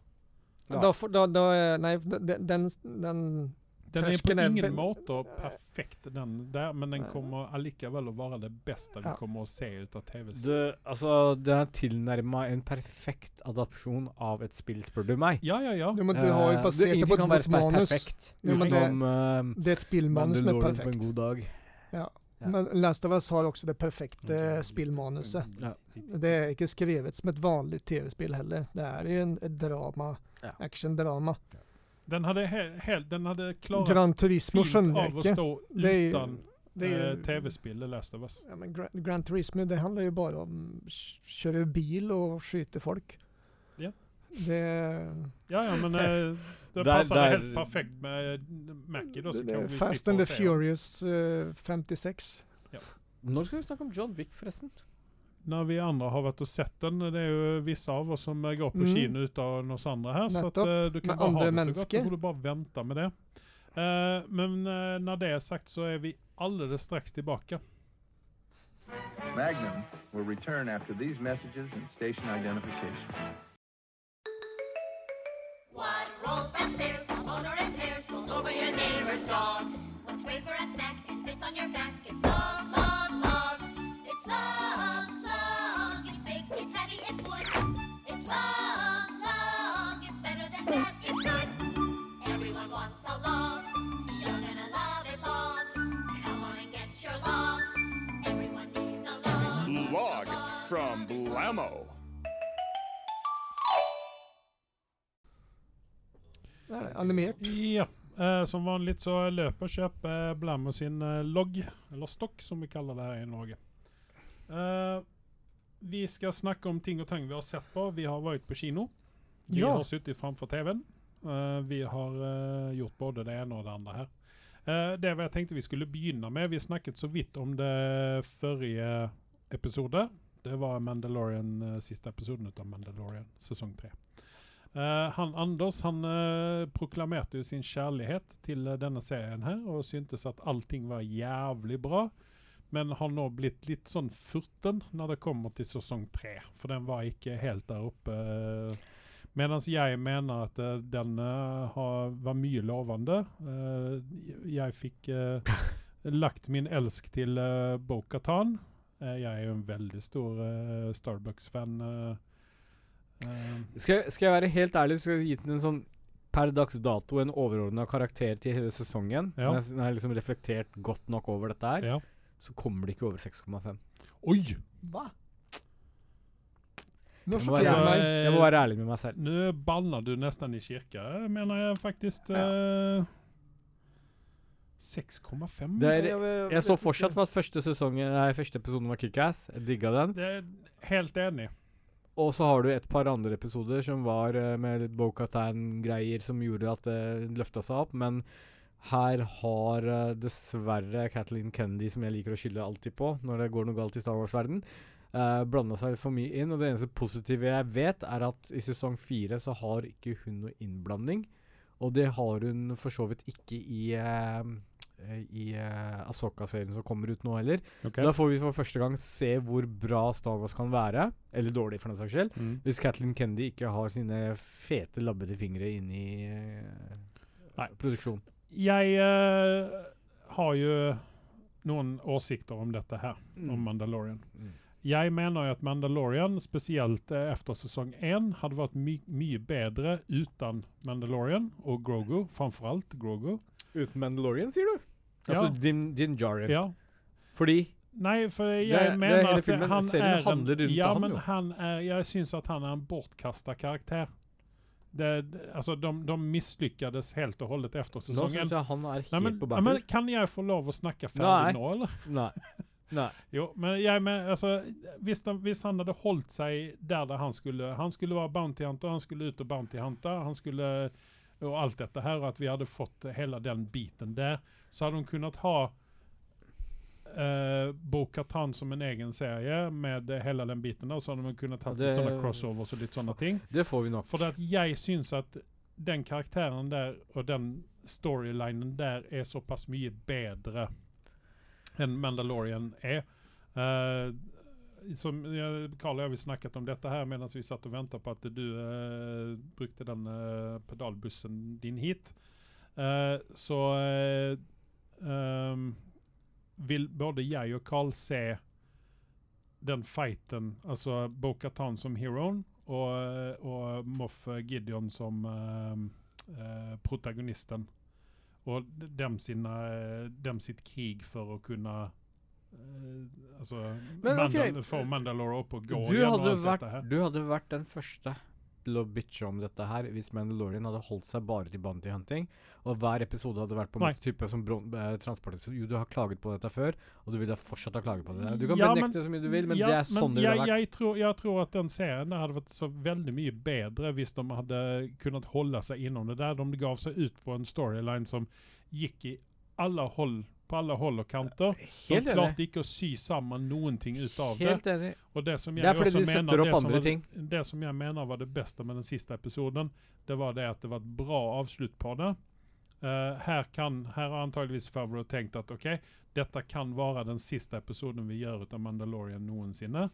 S4: Ja.
S3: Då, får- då, då, är- nej, d- d- den, den,
S1: Den är
S3: Tröskeln
S1: på
S3: är
S1: ingen
S3: väl-
S1: måte perfekt den där, men den
S3: Nej.
S1: kommer allikevel att vara det bästa vi
S3: Ja.
S1: kommer att se utav tv
S4: Det, altså, det er tilnærma en perfekt adopsjon av et spill, spør du meg.
S1: Ja, ja, ja.
S3: jo, men du har ju
S4: Eh,
S3: baserat det, på
S4: ingenting kan
S3: ett-
S4: være
S3: ett manus.
S4: perfekt.
S3: Jo, men det-
S4: Utenom eh,
S3: Det är ett spelmanus som är
S4: Mandalorian på
S3: perfekt.
S4: en god dag. Ja.
S3: Men Last of Us har också det perfekta spelmanuset.
S4: Ja.
S3: Det är inte skrivet som ett vanligt tv-spel heller. Det här är ju en ett drama,
S4: Ja.
S3: action-drama.
S1: Den hade, he- helt- den hade klarat
S3: Gran Turismo
S1: fint av att
S3: skönräcke.
S1: stå
S3: Det är ju-
S1: utan
S3: Det är ju,
S1: eh, tv-spel, The Last of Us.
S3: ja, men Gran, Gran Turismo, det handlar ju bara om k- köra bil och skjuta folk.
S1: Ja.
S3: Det,
S1: Ja, ja, men eh, det
S4: Där-
S1: passade
S4: där-
S1: helt perfekt med Mackie då. Så
S3: det
S1: kan
S3: är
S1: vi
S3: Fast
S1: slippa
S3: and the
S1: att se honom.
S3: Furious eh, 56.
S4: Når skal vi snakke om John Wick, forresten?
S1: När vi andra har varit och sett den, det är ju vissa av oss som eh, går på
S3: Mm.
S1: kino utav oss andra här. Så att,
S3: Nettopp.
S1: eh, du kan
S3: Men
S1: bara ha
S3: andra
S1: det så gott,
S3: människor.
S1: då får du bara vänta med det. Eh, men eh, när det är sagt så är vi alldeles strax tillbaka.
S5: Magnum will return after these messages and station identification.
S6: What rolls downstairs, the owner and pairs, rolls over your neighbor's dog. What's great for a snack and fits on your back? It's log, log, log. It's log, log. It's big, it's heavy, it's wood. It's log, log. It's better than bad, it's good. Everyone wants a log. You're gonna love it long. Come on and get your log. Everyone needs a log.
S7: Log from Blammo.
S3: Det här är Animerat.
S1: Ja, eh, som vanligt så löper köp eh, Blammo sin eh, logg, eller stock som vi kallar det här i Norge. Eh, vi ska snacka om ting och tang vi har sett på. Vi har varit på kino. Vi
S3: Ja.
S1: har suttit framför tvn. Eh, vi har eh, gjort både det ena och det andra här. Eh, det var jag tänkte vi skulle begynna med. Vi snackat så vitt om det förra episoden. Det var Mandalorian, eh, sista episoden av Mandalorian, säsong 3. Eh, han Anders, han eh, proklamerade ju sin kärlighet till eh, denna serien här och syntes att allting var jävligt bra. Men har nog blivit lite sån furten när det kommer till säsong 3. För den var icke helt där uppe. Eh, Medan jag menar att eh, den eh, har, var mycket lovande. Eh, jag fick eh, lagt min älsk till eh, Bo-Katan. Eh, jag är ju en väldigt stor eh, Starbucks-fan. Eh, eh,
S4: Skal, skal jeg være helt ærlig, så skal jeg gi den en sånn per dags dato en overordna karakter til hele sesongen.
S1: Ja.
S4: Når jeg s- Når jeg har liksom reflektert godt nok over dette her,
S1: ja.
S4: så kommer det ikke over 6,5.
S1: Oj!
S3: Va? Nu
S4: Jag må,
S3: chockerar
S1: jag
S4: være,
S1: säga-
S3: mig.
S1: mig.
S4: jeg må være ærlig med meg
S3: Mm,
S4: selv.
S1: Nu bannar du nästan i kyrka, menar jag faktiskt. Eh, 6,5. Det,
S4: Det er,
S3: Jag vet
S4: jeg står
S3: inte.
S4: fortsatt for at første, sesongen, nei, første episoden var kickass. Jeg digga den.
S1: är helt enig.
S4: Og så har du et par andre episoder som var eh, med litt Bokatan-greier som gjorde at det løfta seg opp, men her har eh, dessverre Kathleen Kennedy, som jeg liker å skylde alltid på når det går noe galt i Star Wars-verden, uh, blanda seg litt for mye inn. Og det eneste positive jeg vet, er at i sesong fire så har ikke hun noe innblanding. Og det har hun for så vidt ikke i eh, eh, i uh, Asoka-serien som kommer ut nå heller.
S1: Ok.
S4: Da får vi for første gang se hvor bra Star Wars kan være, eller dårlig for den saks skyld,
S1: Mm.
S4: hvis Kathleen Kennedy ikke har sine fete, labbete fingre inni uh,
S1: Nei.
S4: produksjonen.
S1: Jeg eh, har jo noen åsikter om dette her, om Mandalorian.
S4: Mm.
S1: Jeg mener jo at Mandalorian, spesielt eh, etter sesong én, hadde vært my mye bedre uten Mandalorian og Grogu, framfor alt Grogu.
S4: Uten Mandalorian, sier du?
S1: Ja.
S4: Altså Alltså, Din, din Jaren.
S1: Ja.
S4: Fordi
S1: Nei, for jeg
S4: Det- det-
S1: mener
S4: hele
S1: at
S4: filmen-
S1: han
S4: serien
S1: er en,
S4: handler rundt
S1: ja,
S4: han
S1: men
S4: jo.
S1: han er, Jeg syns at han er en bortkasta karakter. Det, det- altså, de, de mislykkes helt og holdent etter
S4: nå
S1: sesongen.
S4: syns jeg han er helt
S1: Nei, men,
S4: på
S1: ja, men
S4: bærtur.
S1: Kan jeg få lov å snakke
S4: Nei.
S1: ferdig nå, eller?
S4: Nei. Nei.
S1: Jo, men jeg men, altså, hvis, han- hvis han hadde holdt seg der, der han skulle Han skulle være bounty hunter, han skulle ut og bounty hunter, han skulle Og alt dette her, og at vi hadde fått hele den biten der, så hadde hun kunnet ha Uh, Bo-Katan som en egen serie med eh, hele den biten der, så hadde man kunnet hatt
S4: Ja, det-
S1: litt sånne crossovers og litt sånne ting.
S4: Det får vi nok.
S1: For at jeg syns at den karakteren der og den storylinen der er såpass mye bedre enn Mandalorian er. Eh, som jeg, Carl og jeg har vi snakket om dette her mens vi satt og ventet på at du eh, brukte den eh, pedalbussen din hit. Eh, så eh, ehm, vil både jeg og Carl se den fighten, altså Bo-Katan som heroen og, og Moff Gideon som eh, eh, protagonisten. Og d- dem, sina, eh, dem sitt krig for å kunne eh, Altså
S4: Men
S1: Mandal
S4: ok,
S1: få Mandalore opp og gå
S4: Du
S1: igjen og
S4: hadde,
S1: alt
S4: vært,
S1: dette her.
S4: du hadde vært den første til å bitche om dette her hvis Mandalorian hadde holdt seg bare til bounty hunting, og hver episode hadde vært på en
S1: Nei.
S4: måte type som bron- eh, transportepisode. Jo, du har klaget på dette før, og du vil da fortsatt ha klaget på det. der. Du kan
S1: Ja, men-
S4: benekte så mye du vil, men
S1: Ja,
S4: det er sånn det ville
S1: jeg,
S4: vært.
S1: jeg, tror, jeg tror at den serien der hadde vært så veldig mye bedre hvis de hadde kunnet holde seg innom det der. De gav seg ut på en storyline som gikk i alle hold, på alle hold og kanter. De
S4: Helt enig.
S1: klarte ikke å sy sammen noen ting ut av det.
S4: Helt enig.
S1: Og det, som
S4: Det
S1: jeg
S4: er fordi
S1: også
S4: de
S1: mener-
S4: setter opp
S1: det som
S4: andre
S1: var-
S4: ting.
S1: Det som jeg mener var det beste med den siste episoden, det var det at det var et bra avslutt på det. Eh, her, kan, her har antageligvis Favreau tenkt at ok, dette kan være den siste episoden vi gjør ut av Mandalorian noensinne.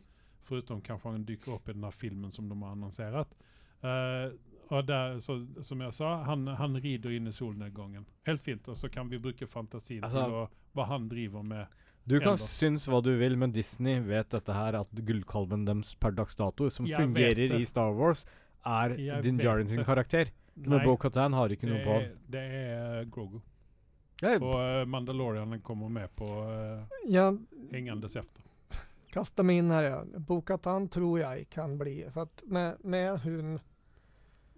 S1: Foruten kanskje han dukker opp i den her filmen som de har annonsert. Eh, og der, så, som jeg sa, han, han rider inn i solnedgangen. Helt fint. Og så kan vi bruke fantasien
S4: Altså-
S1: til å, hva han driver med.
S4: Du kan
S1: Enda.
S4: synes hva du vil, men Disney vet dette her, at gullkalven deres per dags dato, som
S1: Jeg vet
S4: fungerer
S1: det.
S4: i Star Wars, er
S1: Jeg
S4: Din
S1: vet
S4: Djarin sin
S1: det.
S4: karakter. Men Bo-Katan har ikke noe
S1: det
S4: på
S1: er, det er Grogu.
S4: han.
S1: Og eh, Mandalorianen kommer med på uh,
S3: Jag
S1: hengendes efter.
S3: kastar mig in här. ja. Bo-Katan tror jag kan bli, för att med, med hon,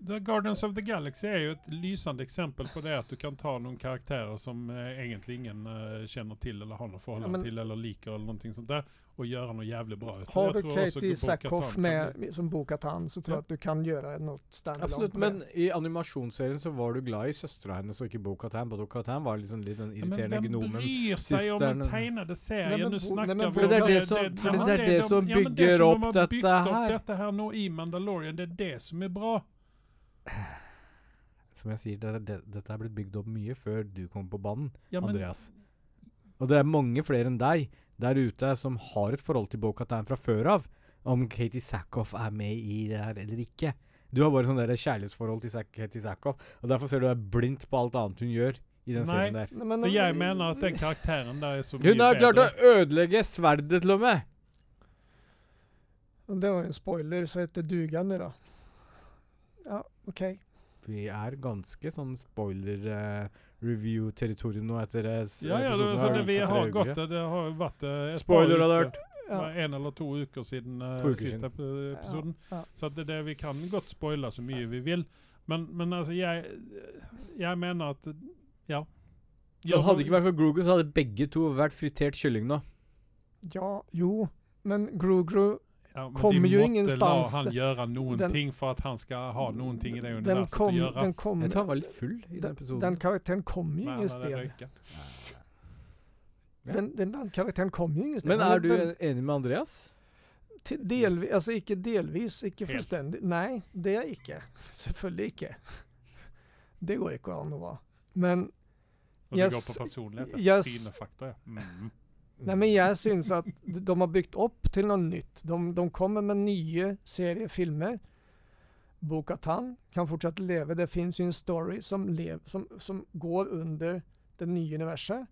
S1: The Guardians of the Galaxy er jo et lysende eksempel på det at du kan ta noen karakterer som eh, egentlig ingen eh, kjenner til eller har noe forhold
S3: Ja, men-
S1: til eller liker, eller noe sånt der, og gjøre noe jævlig bra ut.
S3: har
S1: Jeg
S3: du
S1: tror også
S3: Katie
S1: Bo-Katan
S3: Sackhoff
S1: kan bli-
S3: med som Bo-Katan så tror
S1: Ja.
S3: jag att du kan göra något standalone
S4: Absolutt,
S3: på det.
S4: men i animasjonsserien så var du glad i søstera hennes og ikke Bo-Katan. Bo-Katan var liksom litt den
S1: Ja, men
S4: irriterende
S1: Hvem
S4: gnomen.
S1: bryr seg om den
S4: Sisterne.
S1: tegnede
S3: Nei,
S1: serien?
S3: men
S1: Du
S3: Bo-
S1: snakker
S3: nei, men
S1: om-
S3: Bo- For det er
S4: det som- for det
S1: ja,
S4: er det
S1: de-
S4: som
S1: ja, men det som
S4: bygger
S1: de
S4: opp
S1: har
S4: dette
S1: byggt opp
S4: her.
S1: dette her nå i Mandalorian, det er det som er bra.
S4: Som jeg sier, det, er- det, dette er blitt bygd opp mye før du kom på banen,
S1: Ja, men
S4: Andreas. Og det er mange flere enn deg der ute som har et forhold til Bo-Katan fra før av, om Katie Sackhoff er med i det her eller ikke. Du har bare sånn der kjærlighetsforhold til Sack- Katie Sackhoff, og derfor ser du deg blindt på alt annet hun gjør i den
S1: Nei.
S4: serien der.
S3: Nej, men-
S1: Så jeg mener at den karakteren der er så mye
S4: Hun har klart
S1: bedre.
S4: å ødelegge sverdet til og med!
S3: Det var ju en spoiler, så heter duga nu då. Ja, okej.
S4: Vi er ganske sånn spoiler-review-territorium nå etter eh, s-
S1: Ja, ja, det,
S4: episoden
S1: så
S4: her
S1: det, vi
S4: for tre
S1: har
S4: uker
S1: gått eh,
S4: siden.
S1: det. Det har jo vært eh, et par
S4: Spoiler
S1: uker,
S4: alert.
S3: Ja.
S1: eh, En eller to uker siden eh,
S4: To uker
S1: siste
S4: siden.
S1: ep- episoden.
S3: Ja, ja.
S1: Så at det, det, vi kan godt spoile så mye vi vil. Men, men alltså, eh, altså, jeg, jeg mener at Ja.
S4: Og hadde det ikke vært for Grogu, så hadde begge to vært fritert kylling nå.
S3: Ja, jo. Men Gru-Gru,
S1: ja, men
S3: kommer
S1: de
S3: jo
S1: måtte
S3: ingenstans.
S1: la han gjøre noen
S3: Den-
S1: ting for at han skal ha noen ting i det
S3: den
S1: universet
S3: kom,
S1: å gjøre.
S3: den kom,
S4: Jeg tror han var litt full i den
S3: Mm. den,
S4: episoden.
S3: den karaktären kom ju
S1: Men han hadde
S3: ingenstans.
S1: røyka.
S4: Ja.
S3: Den, den, den karaktären kom ju ingenstans.
S4: Men
S3: Han
S4: er du
S3: den-
S4: enig med Andreas?
S3: til- Delvis, altså ikke alltså delvis, ikke
S1: Helt.
S3: fullstendig. Nei, det er jeg ikke. Selvfølgelig ikke. Det går ikke an å være. Men
S1: Og det
S3: Jeg
S1: går på
S3: s-
S1: personlighet.
S3: jeg s-
S1: Trynefaktor, ja. Mm.
S3: Nej, men jag syns att d- de har byggt upp till något nytt. De, de kommer med nya serier, filmer. Bokatan kan fortsätta leva. Det finns ju en story som, lev, som, som går under det nya universet.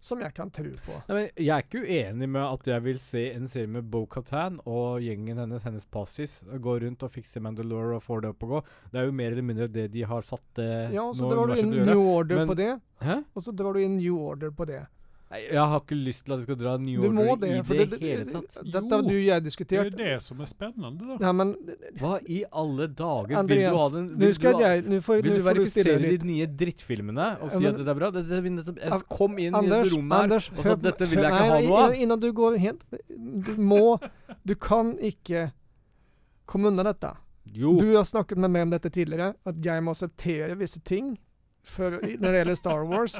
S3: Som jag kan tro på.
S4: Nei, men jeg er ikke uenig med at jeg vil se en serie med Bo-Katan og gjengen hennes, hennes passis, gå rundt og fikse Mandalore og få det opp og gå. Det er jo mer eller mindre det de har satt eh,
S3: Ja, och så
S4: nå
S3: drar du in
S4: universet til å
S3: New
S4: gjøre.
S3: Order
S4: men-
S3: på det.
S4: Hæ?
S3: Och så drar du in New Order på det.
S4: Nei, Jeg har ikke lyst til at de skal dra New
S3: Du må
S4: Order
S3: det.
S4: i
S3: för
S4: det,
S3: det,
S4: hele tatt.
S3: Detta har du och jag
S1: Det er
S3: diskuterat.
S1: jo det som er spennende, da.
S3: Nej, men
S4: Hva i alle dager? vil du ha
S3: Andreas,
S4: den
S3: nu, ska
S4: du, ha-
S3: jag, nu får,
S4: vil
S3: nu
S4: du
S3: får du stilla
S4: verifisere
S3: dig
S4: de
S3: lite.
S4: nye drittfilmene og
S3: Ja,
S4: si
S3: men-
S4: at det er bra? Det, det, vi nettopp- jeg
S3: An-
S4: kom inn i
S3: Anders,
S4: det rommet her
S3: Anders,
S4: og sa
S3: hør-
S4: at dette vil
S3: hør-
S4: jeg ikke ha
S3: nei,
S4: noe av.
S3: i- Innan du går helt Du må Du kan ikke komme unna dette.
S4: Jo.
S3: Du har snakket med meg om dette tidligere, at jeg må akseptere visse ting for, i- når det gjelder Star Wars.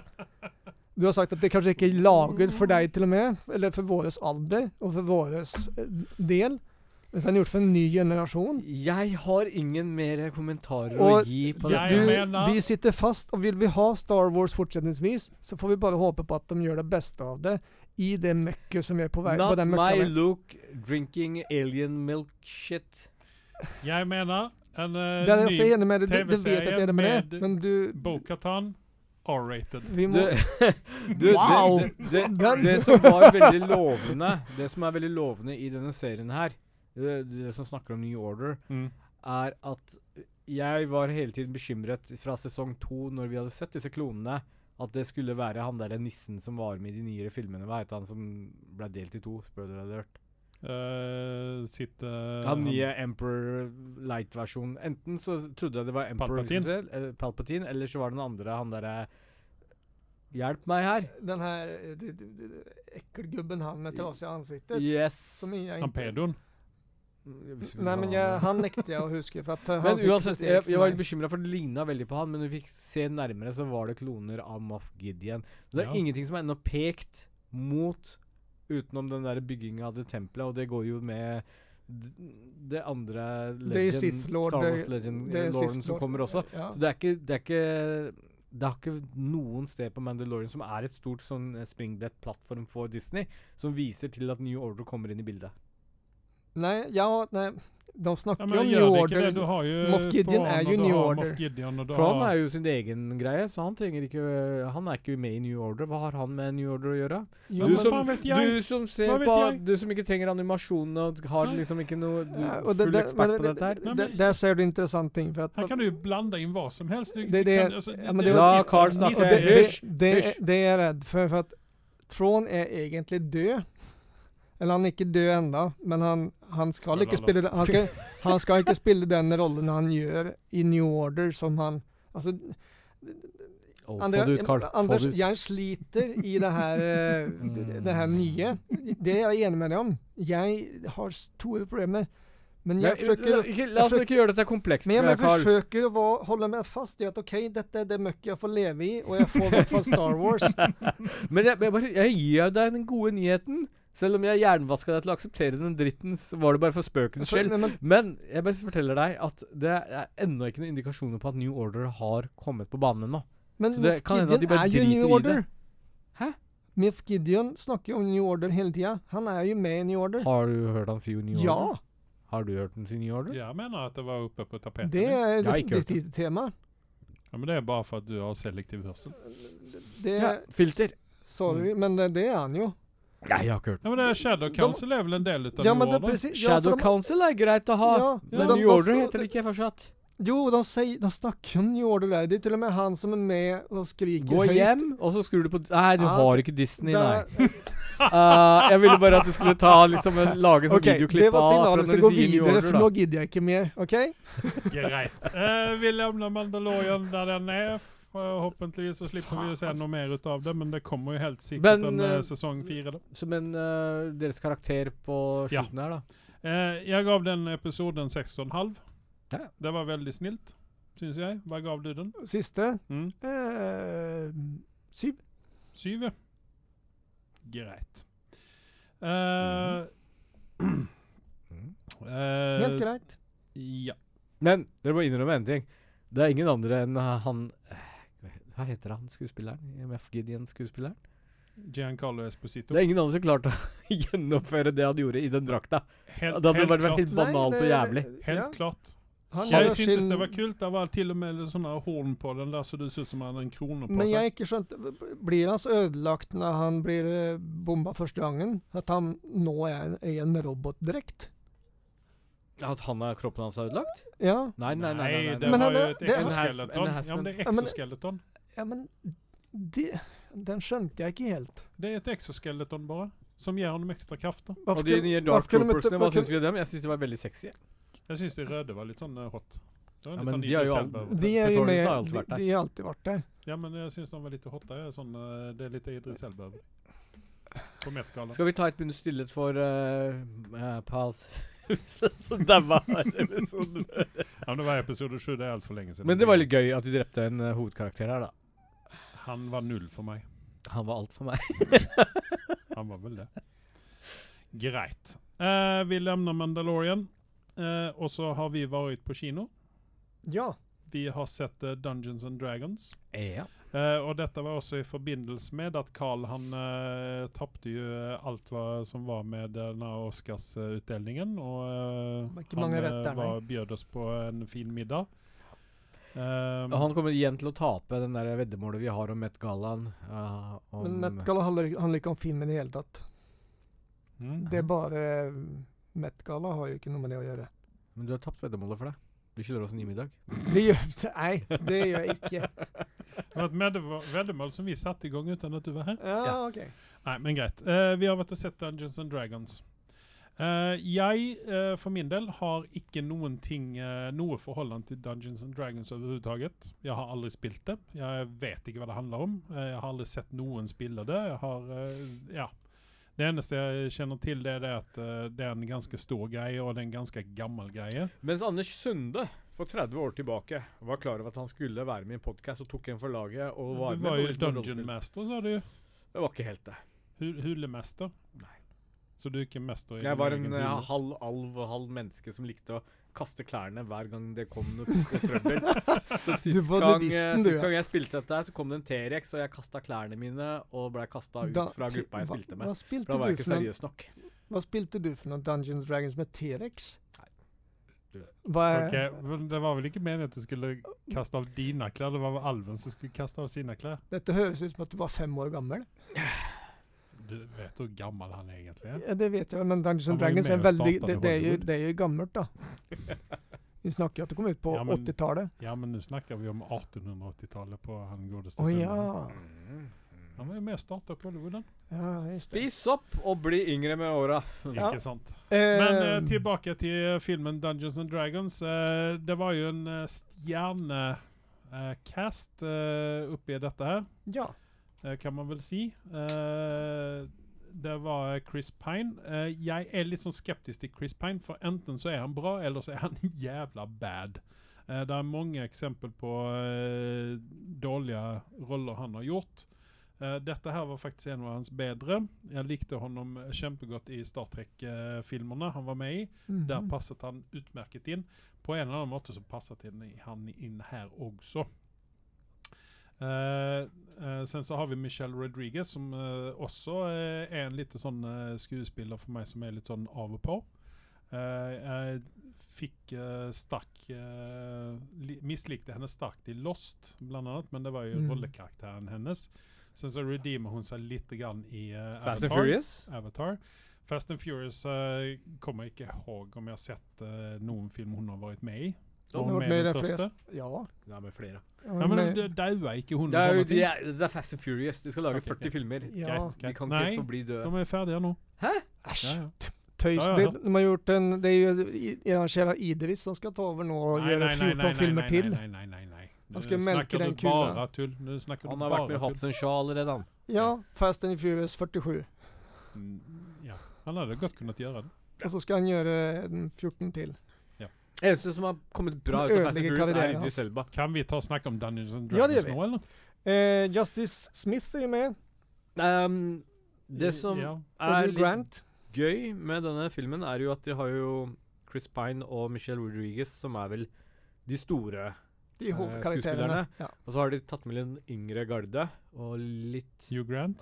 S3: Du har sagt at det kanskje ikke er laget for deg, til og med, eller for vår alder og for vår eh, del. Det er gjort for en ny generasjon.
S4: Jeg har ingen mer kommentarer å
S3: Og
S4: gi
S1: jeg
S4: på dette.
S3: Du,
S1: mener-
S3: vi sitter fast, og vil vi ha Star Wars fortsetningsvis, så får vi bare håpe på at de gjør det beste av det i det møkket som vi er på vei på
S4: Not
S3: den møkka
S4: my
S3: med.
S4: look drinking alien milk shit.
S1: Jeg mener en eh,
S3: Det er jeg så
S1: ny
S3: enig med deg. Du, du vet at jeg er enig med
S1: TV-serie
S3: deg, men du
S1: Bo-Katan R-rated.
S3: vi
S4: Du,
S3: må,
S4: du
S3: Wow!
S4: det, det, det,
S3: Den-
S4: det som var veldig lovende Det som er veldig lovende i denne serien her, det, det som snakker om New Order,
S3: Mm.
S4: er at jeg var hele tiden bekymret fra sesong to, når vi hadde sett disse klonene, at det skulle være han der den nissen som var med i de nyere filmene. Hva het han som ble delt i to? Spoiler alert.
S1: Eh, sitt eh,
S4: Han nye Emperor Light-versjonen. Enten så trodde jeg det var Emperor
S1: Palpatine.
S4: Palpatine, eller, Palpatine, eller så var det den andre, han derre Hjelp meg her.
S3: den her eh, d- d- d- ekkelgubben han med trasig ansikte
S4: Yes.
S3: som jeg
S1: han
S3: ikke
S1: pedoen.
S4: Jeg visste ikke
S3: Nei,
S4: om
S3: men
S4: det
S3: jeg,
S4: var han.
S3: han nekter jeg å huske. For at eh, han
S4: Men
S3: fikk
S4: uansett,
S3: så
S4: jeg,
S3: sterk
S4: jeg var
S3: meg.
S4: bekymra for det ligna veldig på han, men når vi fikk se nærmere, så var det kloner av Moff Gideon. Så det er
S1: Ja.
S4: ingenting som er ennå pekt mot utenom den der bygginga av det tempelet, og det går jo med d- det andre legend,
S3: Det er Sith Lord.
S4: Star
S3: det-
S4: Wars legend,
S3: det er Sith
S4: Lorden som
S3: Lord.
S4: kommer også.
S3: Ja.
S4: Så det er ikke Det er ikke det har ikke noen sted på Mandalorian som er et stort sånn eh, springbrett-plattform for Disney, som viser til at New Order kommer inn i bildet.
S3: Nei, ja, nei. De
S1: Ja,
S3: snakker jo
S1: men
S3: om New
S1: gjør det ikke
S3: Order.
S1: det? Du har jo
S3: Moff Gideon
S1: Thrawn,
S3: er
S1: og
S3: jo
S1: du
S3: New
S1: har
S3: Order.
S1: Moff Gideon, og du
S4: Tron
S1: har-
S4: er jo sin egen greie, så han trenger ikke eh, Han er ikke med i New Order. Hva har han med New Order å gjøre?
S3: Jo,
S1: ja,
S4: Du
S1: men
S4: som-
S1: faen vet jeg!
S4: Du som ser
S1: Hva vet
S4: på
S1: jeg?
S4: Du som ikke trenger animasjonene og har
S1: Nei.
S4: liksom ikke noe Du
S3: ja,
S4: er
S3: og det-
S4: full
S3: det-
S4: ekspert
S3: men
S4: på
S3: det-
S4: dette her.
S1: Nei,
S3: det-
S1: men-
S3: Der ser du en interessant ting. For at,
S1: Her kan du jo blande inn hva som helst. Du,
S3: Det- det-
S1: kan, altså,
S3: ja, men
S1: det-
S3: det-
S4: La Carl
S3: Og
S4: snakke.
S1: Nisse-
S3: det,
S4: Hysj,
S3: det, det,
S4: hysj.
S3: det er jeg redd for, for at Trond er egentlig død. Eller han er ikke død ennå, men han, han, skal
S1: Spoiler
S3: ikke
S1: alert.
S3: spille, den- han, skal, han skal ikke spille den rollen han gjør i New Order som han Altså,
S4: Å,
S3: Andrea-
S4: få det ut, Carl. Få
S3: Anders,
S4: det ut. Mm.
S3: jeg sliter i det her, eh, det, det her nye. Det er jeg enig med deg om. Jeg har store problemer. Men
S4: Nei,
S3: jeg forsøker
S4: la- ikke- La oss
S3: jeg
S4: ikke gjøre dette komplekst, eh,
S3: men jeg
S4: Carl.
S3: forsøker å va- holde meg fast i at OK, dette er det møkket jeg får leve i, og jeg får i hvert fall Star Wars.
S4: Men jeg, jeg, bare, jeg gir deg den gode nyheten. Selv om jeg jernvaska deg til å akseptere den dritten, så var det bare for spøkens
S3: Så-
S4: skyld.
S3: men- men-
S4: Men jeg bare forteller deg at det er ennå ikke noen indikasjoner på at New Order har kommet på banen ennå.
S3: Men
S4: Så det
S3: Moff
S4: kan hende at de
S3: Gideon
S4: bare
S3: er jo
S4: driter i
S3: New
S4: det.
S3: Order.
S4: Hæ?
S3: Miff Gideon snakker jo om New Order hele tida. Han er jo med i New Order.
S4: Har du hørt han si New
S3: ja!
S4: Order? Har du hørt han si New Order?
S1: Jeg mener at det var oppe på
S3: Det
S1: tapeten. din.
S3: er
S4: Jeg har ikke
S3: et
S4: hørt
S3: lite tema.
S1: Ja, men det er bare for at du har selektiv hørsel.
S3: Det
S4: Ja, filter. Mm.
S3: Sorry, men det, det er han jo.
S4: Nei, jeg har ikke hørt.
S1: Ja, men det er Shadow Council er vel en del av
S3: Ja,
S1: New
S3: men det,
S1: Order?
S3: precis, ja,
S4: Shadow
S3: for de,
S4: Council er greit å ha,
S3: Ja,
S4: men
S3: ja.
S4: New
S3: De-
S4: Order
S3: de-
S4: heter det ikke fortsatt.
S3: Jo, de, sier, de snakker om New Order der. Det er til og med han som er med og skriker
S4: Gå
S3: høyt.
S4: hjem, og så skrur du på Nei, du
S3: Ja,
S4: har ikke Disney, nei.
S3: Der-
S4: Ah, jeg ville bare at du skulle ta liksom en, lage en sånn
S3: OK, det
S4: videoklipp
S3: var
S4: av
S3: signalet
S4: akkurat
S3: til å
S4: når du
S3: gå
S4: sier New
S3: videre,
S4: Order,
S3: for
S4: da.
S3: nå gidder jeg ikke mer. OK?
S1: Greit. Eh, vi lämnar Mandalorian där den är. Forhåpentligvis så slipper vi ju se noe mer utav det, men det kommer ju helt sikkert
S4: Men,
S1: en eh,
S4: eh,
S1: säsong fyra. Då.
S4: Som en eh, deres karakter på
S1: Ja.
S4: slutten her, da.
S1: Eh, jag gav den episoden 6,5.
S4: Ja.
S1: Det var väldigt snilt, syns jag. Vad gav du den?
S3: Siste.
S1: Mm.
S3: Eh, syv.
S1: Syv, ja. Greit. Eh, eh,
S3: Helt greit.
S1: Ja.
S4: Men dere må innrømme en ting. Det er ingen andre enn eh, han eh,
S8: Hva heter han skuespilleren? MF Gideon-skuespilleren?
S1: Giancarlo Esposito.
S8: Det er ingen andre som klarte å gjennomføre det han gjorde i den drakta.
S1: Helt,
S8: Det hadde
S1: helt
S8: bare vært
S1: klart.
S8: helt banalt og jævlig.
S1: Helt klart.
S3: Han har
S1: Jeg syntes
S3: sin-
S1: det var kult. Det var til og med litt sånne horn på den der, så det så ut som han hadde en krone på
S3: Men
S1: seg.
S3: jeg har ikke skjønt Blir han så ødelagt når han blir eh, bomba første gangen, at han nå er en, er en robotdrekt?
S4: At han er kroppen hans er ødelagt?
S3: Ja.
S4: Nei, nei, nei. nei, nei,
S1: det
S3: Men
S1: var
S3: han
S1: jo
S3: er-
S1: et
S3: det er-
S1: exoskeleton.
S4: En has- en
S1: Ja, men det er
S3: has- men-
S1: exoskeleton.
S3: ja, men det, den skjønte jeg ikke helt.
S1: Det er et exoskeleton bare, som gir honom ekstra krafter.
S4: Og de
S3: kunne-
S4: nye
S3: hvorfor
S4: Dark
S3: kunne de ikke-
S4: Troopersene, hva
S3: hvorfor
S4: syns vi om dem? Jeg syns de var veldig sexy.
S1: Jeg syns de røde var litt sånn eh, hot. Det var
S4: Ja,
S1: litt
S4: men
S1: sånn i
S4: de har jo
S1: desember.
S3: kunne- De er jo
S4: Petroleum
S3: med
S4: har alltid
S3: De,
S4: vært der.
S3: de har alltid vært der.
S1: Ja, men jeg syns de var litt hotte. jeg er Sånn, eh, det er litt Idris Elba over det. På Met-gallaen.
S4: Skal vi ta et minutts stillhet for uh, Paz? Så daua episoden.
S1: Ja, men det var episode sju, det er altfor lenge siden.
S4: Men det var litt gøy at de drepte en eh, hovedkarakter her, da.
S1: Han var null for meg.
S4: Han var alt for meg.
S1: Han var vel det. Greit. Eh, vi levner Mandalorian, eh, og så har vi vært på kino.
S3: Ja.
S1: Vi har sett eh, Dungeons and Dragons.
S4: Ja.
S1: Eh, og dette var også i forbindelse med at Carl han eh, tapte jo eh, alt hva som var med eh, denne Oscarsutdelingen. Og eh,
S3: Var ikke mange
S1: han
S3: rett der, nei.
S1: var, bjød oss på en fin middag. Um,
S4: Og han kommer igjen til å tape den der veddemålet vi har om Met Gallaen. eh, om
S3: Men Met Gala handler, handler ikke om filmen i det hele tatt.
S1: mm.
S3: Det er bare eh, Met Gala har jo ikke noe med det å gjøre.
S4: Men du har tapt veddemålet for det. Du skylder oss en innmiddag.
S3: Det gjør, nei, det gjør jeg ikke.
S1: Det var et medde- veddemål som vi satte i gang uten at du var her.
S3: Ja,
S4: Ja.
S3: ok.
S1: Nei, men greit. Eh, vi har vært og sett Dungeons and Dragons. Eh, jeg, eh, for min del, har ikke noen ting, eh, noe forhold til Dungeons and Dragons overhodet. Jeg har aldri spilt det. Jeg vet ikke hva det handler om. Eh, jeg har aldri sett noen spille det. Jeg har, eh, ja. Det eneste jeg kjenner til, det er det at eh, det er en ganske stor greie, og det er en ganske gammel greie.
S4: Mens Anders Sunde for 30 år tilbake var klar over at han skulle være med i en podkast, og tok en for laget og
S1: Du
S4: var med.
S1: Mm. var
S4: på
S1: jo
S4: Ultimate
S1: Dungeon
S4: Rollespill.
S1: Master, sa du.
S4: Det var ikke helt det.
S1: Hu- Hulemester.
S4: Nei.
S1: Så du er ikke mester i
S4: Jeg
S1: din
S4: var en
S1: egen
S4: eh,
S1: hule?
S4: halv alv og halv menneske som likte å kaste klærne hver gang det kom noe trøbbel. Så sist
S3: var
S4: gang, eh,
S3: nudisten, du,
S4: sist
S3: ja.
S4: gang jeg spilte dette, her, så kom det en T-rex, og jeg kasta klærne mine og blei kasta ut
S3: Da-
S4: fra gruppa jeg
S3: hva-
S4: spilte
S3: Hva
S4: med. For
S3: spilte,
S4: da var jeg
S3: du
S4: ikke
S3: for noen,
S4: seriøs nok.
S3: hva spilte du for noen Dungeons Dragons med T-rex?
S4: Nei, du-
S3: Hva er
S1: Ok, men Det var vel ikke meningen at du skulle kaste av dine klær, det var vel alven som skulle kaste av sine klær.
S3: Dette høres ut som at du var fem år gammel.
S1: Du vet hvor gammel han egentlig er?
S3: Ja, det vet jeg vel, men Dungeons
S1: Han
S3: and
S1: var jo
S3: Dragons
S1: med
S3: er
S1: og
S3: veldig
S1: startet
S3: det, det, er jo,
S1: Hollywood.
S3: det er jo gammelt, da. Vi snakker jo at det kom ut på
S1: Ja, men-
S3: 80-tallet.
S1: Ja, men nå snakker vi om 1880-tallet på han godeste
S3: Å
S1: sønnen.
S3: ja.
S1: Han var jo med og starta på Hollywooden.
S3: ja just det.
S4: Spis opp og bli yngre med åra.
S3: Ja.
S1: Ikke sant.
S3: Eh,
S1: Men eh, tilbake til filmen Dungeons and Dragons. Eh, det var jo en eh, stjernecast eh, oppi dette her,
S3: ja.
S1: eh, kan man vel si. Eh, det var Chris Pine. Eh, jeg er litt sånn skeptisk til Chris Pine, for enten så er han bra, eller så er han jævla bad. Eh, det er mange eksempel på eh, dårlige roller han har gjort. Eh, dette her var faktisk en av hans bedre. Jeg likte honom kjempegodt i Star Trek-filmerne han var med i.
S3: Mhm.
S1: Der passet han utmerket inn. På en eller annen måte så passet han- han inn her også. Eh, eh, sen så har vi Michelle Rodriguez, som eh, også eh, er en lite sånn eh, skuespiller for meg som er litt sånn av og på. Eh, jeg fikk eh, sterk eh, li Mislikte henne sterkt i Lost, blant annet, men det var jo
S3: Mm.
S1: rollekarakteren hennes. Sen så redeemer hun seg lite grann i eh,
S4: Fast and
S1: Avatar.
S4: Furious.
S1: Avatar. Fast and Furious eh, kommer jeg ikke ihåg om jeg har sett eh, noen film hun har vært med i. Var
S3: Hun har vært med i de fleste. Ja.
S4: Nei, men flere.
S3: hun
S1: Ja,
S3: var
S1: men
S3: med-
S1: d- daua ikke hun?
S4: Det er, jo,
S1: og sånne
S4: de
S1: ting?
S4: er, det er Fast and Furious. De skal lage
S1: Ok,
S4: 40
S1: ok.
S4: filmer.
S3: ja.
S1: Greit.
S4: De kan
S1: Nei.
S4: ikke forbli
S1: De
S4: døde.
S1: er ferdige nå.
S3: Æsj.
S1: Ja, ja.
S3: Tøys.
S1: Ja, ja,
S3: De,
S1: ja.
S3: de har gjort en Det er jo i- en av Sheila Idris som skal ta over nå og gjøre 14 filmer til.
S1: Nei, nei, nei, nei.
S3: Han skal melke
S1: snakker
S3: den
S1: du
S3: kula.
S1: Bare tull. Nå snakker
S4: Han
S1: du
S4: har
S1: bare
S4: vært med i
S1: tull.
S4: Hobbs and Shaw allerede, han.
S3: Ja. Fast and Furious 47.
S1: Mm, Ja. Han hadde godt kunnet gjøre det.
S3: Og så skal han gjøre en 14 til.
S4: Eneste som har kommet bra ut av Fast and
S3: Ødelegger
S4: Furious, er
S3: karrieren
S4: Idris
S3: hans.
S4: Elba.
S1: Kan vi ta og snakke om Dungeons and
S3: Ja, det
S1: Dragons
S3: gjør vi.
S1: nå, eller?
S3: Eh, Justice Smith er jo med.
S4: Ehm, det som
S1: ja.
S4: er
S3: Hugh
S4: litt
S3: Grant.
S4: gøy med denne filmen, er jo at de har jo Chris Pine og Michelle Rodriguez, som er vel de store
S1: Eh,
S3: De hovedkarakterene.
S4: skuespillerne.
S3: Ja.
S4: Og så har de tatt med den yngre garde, og litt
S1: Hugh Grant?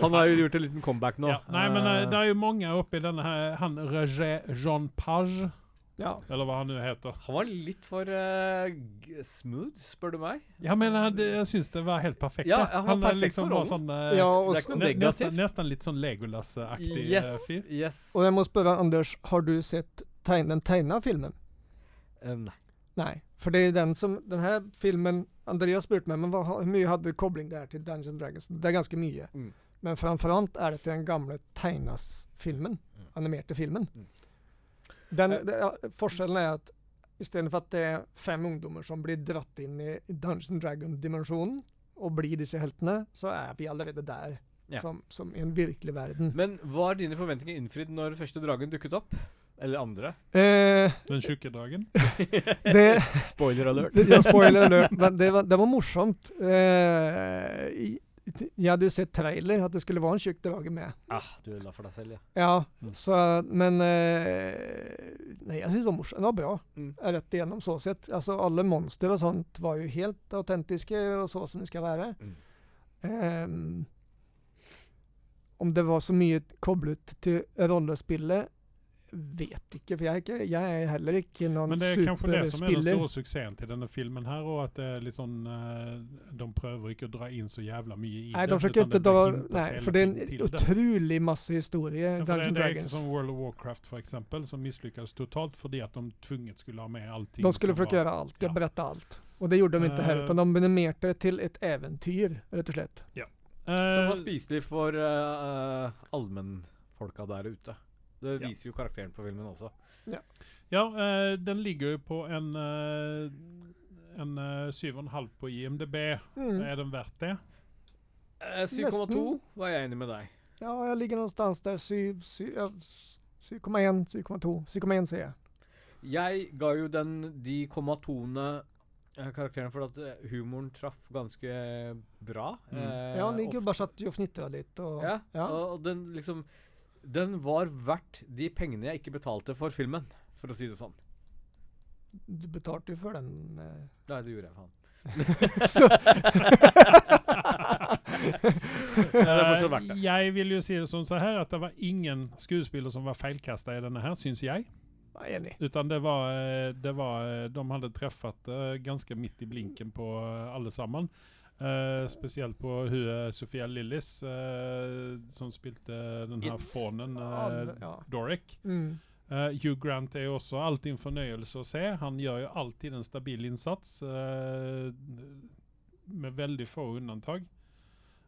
S4: Han har jo gjort en liten comeback nå.
S1: Ja. Nei, men eh,
S4: Eh,
S1: det er jo mange oppi denne her Han Roger Jean Page,
S3: ja.
S1: eller hva han nå heter.
S4: han var litt for eh, g- smooth, spør du meg.
S1: Ja, men han, det- jeg syns det var helt perfekt.
S4: Ja,
S1: da.
S4: han var
S1: er
S4: perfekt for
S1: bare
S4: rollen.
S1: Sånn, eh,
S3: ja og,
S4: det er ikke noe
S1: ne- nesten,
S4: negativt.
S1: nesten litt sånn Legolas-aktig eh,
S4: Yes,
S1: fyr.
S4: yes.
S3: og jeg må spørre Anders, har du sett tegn, den tegna filmen?
S4: Eh, nei.
S3: Nei. For det er den som Den her filmen Andreas spurte meg men hva, hvor mye hadde kobling det her til Dungeons and Dragons. Det er ganske mye.
S4: Mm.
S3: Men framfor alt er det til den gamle tegnas-filmen. Animerte filmen.
S4: Mm.
S3: Den,
S4: Eh.
S3: det, ja, forskjellen er at istedenfor at det er fem ungdommer som blir dratt inn i Dungeons and Dragon-dimensjonen og blir disse heltene, så er vi allerede der.
S4: Ja.
S3: Som, som i en virkelig verden.
S4: Men var dine forventninger innfridd når første dragen dukket opp? Eller andre?
S3: Eh,
S1: Den tjukke dragen.
S3: det
S4: Spoiler alert.
S3: Det- Ja, spoiler alert. Men det var, det var morsomt. Eh, i- jeg hadde jo sett trailer, at det skulle være en tjukk drage med.
S4: ah, du la for deg selv, ja.
S3: Ja,
S4: Mm.
S3: så, men eh, Nei, jeg syns det var morsomt. Det var bra.
S4: Mm.
S3: Rett igjennom, så sett. Altså, alle monster og sånt var jo helt autentiske, og så som de skal være.
S4: Mm.
S3: Ehm, om det var så mye koblet til rollespillet, vet ikke. For jeg er, ikke, jeg er heller ikke noen
S1: Men det er kanskje det som er den
S3: superspiller.
S1: store suksessen til denne filmen her, og at det er litt sånn eh, De prøver ikke å dra inn så jævla mye i
S3: Nei,
S1: det.
S3: de forsøker
S1: utan
S3: ikke
S1: det
S3: dra
S1: bare hintas
S3: Nei,
S1: hele
S3: for det
S1: tiden
S3: er en
S1: til det.
S3: utrolig masse historie.
S1: Ja, for det,
S3: Dungeons
S1: det er ikke
S3: Dragons.
S1: som World of Warcraft for eksempel, som misslyckades totalt fordi at de tvunget skulle ha med allting.
S3: De skulle
S1: som
S3: försöka
S1: var-
S3: gjøre alt, ja.
S1: ja.
S3: berätta allt. Og det gjorde de ikke her,
S1: Eh.
S3: utan de minimerte det til et eventyr, rett og slett.
S4: Som
S1: Eh,
S4: var spiselig for eh, eh, allmennfolka der ute. Det
S1: Ja.
S4: viser jo karakteren på filmen også.
S1: Ja, eh, den ligger jo på en, eh, en eh, 7,5 på IMDb.
S3: Mm.
S1: Er den verdt det?
S4: Eh, 7,2 var jeg enig med deg.
S3: Ja, jeg ligger någonstans der. Syv- syv- ja, s- 7,1, 7,2, 7,1 sier jeg.
S4: Jeg ga jo den de kommatone eh, karakteren for at eh, humoren traff ganske bra.
S1: Mm.
S4: Eh,
S3: Ja, ni
S4: ofte-
S3: gubbar satt ju och fnittrade lite. Och,
S4: Ja,
S3: ja.
S4: Og, og den liksom Den var verdt de pengene jeg ikke betalte for filmen, for å si det sånn.
S3: Du betalte ju för den. eh.
S4: Nei, det gjorde jeg, faen.
S3: Så-
S4: Det er derfor så verdt det.
S1: Eh, jeg vil jo si det som så her, at det var ingen skuespiller som var feilkasta i denne her, syns jeg.
S3: Vad är ni?
S1: Utan det var, eh, det var eh, De hadde truffet eh, ganske midt i blinken på eh, alle sammen. Eh, spesielt på hun eh, Sophia Lillis, eh, som spilte den her
S4: It.
S1: fånen eh,
S3: Ja, ja.
S1: Doric.
S3: Mm.
S1: Eh, Hugh Grant er jo også alltid en fornøyelse å se. Han gjør jo alltid en stabil innsats, eh, med veldig få unntak.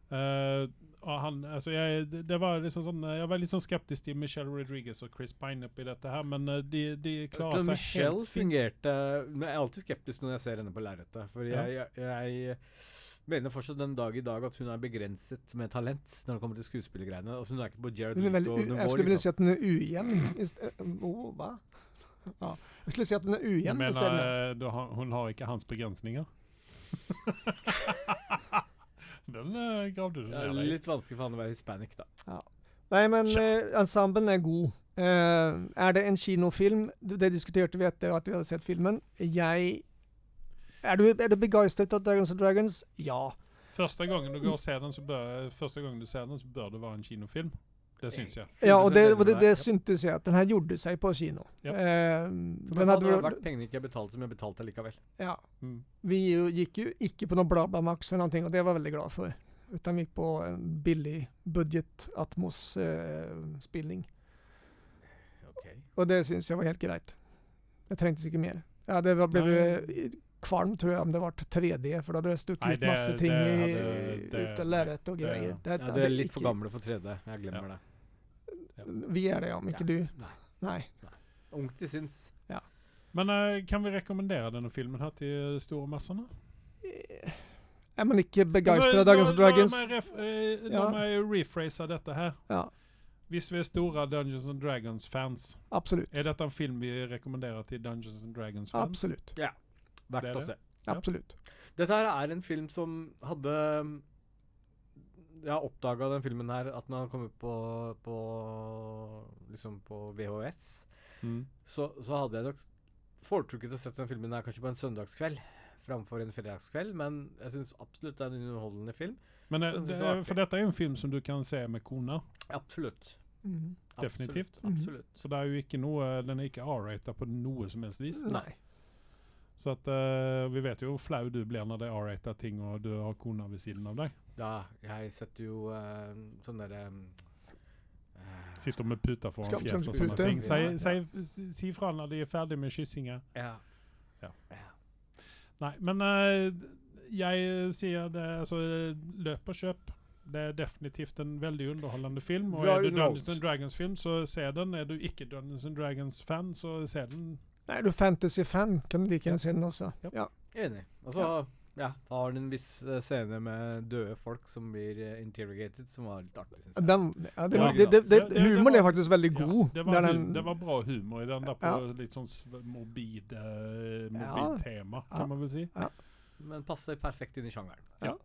S1: Eh, og han, altså jeg, det det var liksom sånn, eh, jeg var litt sånn skeptisk til Michelle Rodriguez og Chris Pine oppi dette her, men eh, de, de klarer
S4: Den
S1: seg
S4: Michelle
S1: helt fint.
S4: fungerte Men Jeg er alltid skeptisk når jeg ser henne på lerretet. For
S1: Ja.
S4: jeg, jeg, jeg mener fortsatt den dag i dag at hun er begrenset med talent når det kommer til skuespillergreiene. Altså, hun er ikke på Jared
S3: Den är väldigt, u- jag
S4: Leto-nivå.
S3: skulle vilja
S4: Liksom.
S3: säga att den är ujämn. ist- eh, Åh, va? Ja. Jag skulle säga att den är
S1: Jeg
S3: ujämn
S1: mener,
S3: istället.
S1: eh, du har, hun har ikke hans begrensninger. Den eh, gravde du
S4: Det er
S1: ned deg i.
S4: litt vanskelig for han å være hispanic, da.
S3: Nei, men eh, ensemblen er god. Eh, er det en kinofilm? Det det diskuterte vi etter at vi hadde sett filmen. Jeg Er du, er du begeistret av Dragons and Dragons? Ja.
S1: Første gangen du går og ser den, så bør, første gangen du ser den, så bør det være en kinofilm. Det syns jeg.
S3: ja og det, og det, det
S4: Ja.
S3: syntes jeg. At den her gjorde seg på kino.
S1: Ja.
S3: Eh,
S4: Som
S3: den
S4: jeg sa, det
S3: hadde
S4: har vært pengene ikke jeg betalte, som jeg betalte likevel.
S3: ja,
S1: Mm.
S3: Vi jo, gikk jo ikke på noe Blabamax eller noe, og det var jeg veldig glad for. Utan vi gikk på en billig budget-atmos-spilling. Og det syns jeg var helt greit. Jeg trengtes ikke mer. Ja, det var, ble
S1: Nei.
S3: kvalm, tror jeg, om det ble 3D, for da hadde det
S1: Nei,
S3: stukket ut
S1: det-
S3: masse ting
S1: det
S3: i,
S1: hadde- det-
S3: ut av lerret og
S1: det-
S3: greier.
S4: Ja,
S3: Det,
S4: Dere er litt
S3: ikke-
S4: for gamle for 3D. Jeg glemmer det.
S3: Vi er det, ja, om ikke
S4: Ja.
S3: du.
S4: Nei.
S3: Nei.
S4: Ungt til sinns.
S1: Men eh, kan vi rekommendere denne filmen her til de store massene?
S3: Eh, Er man ikke
S1: Alltså,
S3: begeistra av Dragons and Dragons?
S1: La meg, ref, eh, la
S3: Ja.
S1: meg rephrase dette her.
S3: Ja,
S1: Hvis vi er store Dungeons and Dragons-fans,
S3: absolutt.
S1: er dette en film vi rekommenderer til Dungeons and Dragons-fans?
S3: Absolutt.
S1: Det er
S4: Verdt å
S1: det.
S4: se.
S1: Ja.
S3: Absolutt.
S4: Dette her er en film som hadde Jeg har oppdaga den filmen her at den har kommet på, på liksom på VHS.
S1: Mm.
S4: Så, så hadde jeg nok foretrukket å sette den filmen her kanskje på en søndagskveld framfor en fredagskveld, men jeg syns absolutt det er en underholdende film.
S1: Men eh,
S4: Så det
S1: det,
S4: er så artig.
S1: for dette er jo en film som du kan se med kona.
S4: Absolutt.
S3: Mhm.
S1: Definitivt.
S4: Absolutt. absolutt.
S1: Så det er jo ikke noe, eh, den er ikke R-rated på noe som helst vis.
S3: Nei.
S1: Så at, eh, vi vet jo hvor flau du blir når det er R-rated ting og du har kona ved siden av deg.
S4: Ja, jeg setter jo eh, sånn derre eh,
S1: Sitter med puta foran
S3: Skal-
S1: fjeset og
S3: skal-
S1: sånne
S3: pute.
S1: ting. Si,
S4: Ja.
S1: si, si fra når de er ferdig med kyssinga.
S4: ja.
S1: Ja.
S4: ja.
S1: Nei, men eh, jeg sier det alltså, altså, Løp og kjøp. Det er definitivt en veldig underholdende film. Og
S4: Vi har
S1: er du
S4: underholdt.
S1: Dungeons and Dragons-film, så se den. Er du ikke Dungeons and Dragons-fan, så se den.
S3: Nei, er du fantasy-fan, kan du like gjerne se den også.
S1: Ja.
S3: Ja.
S4: Enig. Altså, ja. Da har den en viss eh, scene med døde folk som blir eh, interrogated, som var litt artig, syns jeg.
S3: Den, ja, det,
S1: Ja,
S3: det, det,
S1: det-
S3: det,
S1: det
S3: humoren er
S1: var-
S3: faktisk veldig god.
S1: Ja, det, var
S3: der
S1: hu-
S3: den-
S1: det var bra humor i den der på
S3: Ja.
S1: litt sånn sv- morbid,
S3: Ja.
S1: eh, morbid tema, kan
S3: Ja.
S1: man vel si.
S4: Men passer perfekt inn i sjangeren.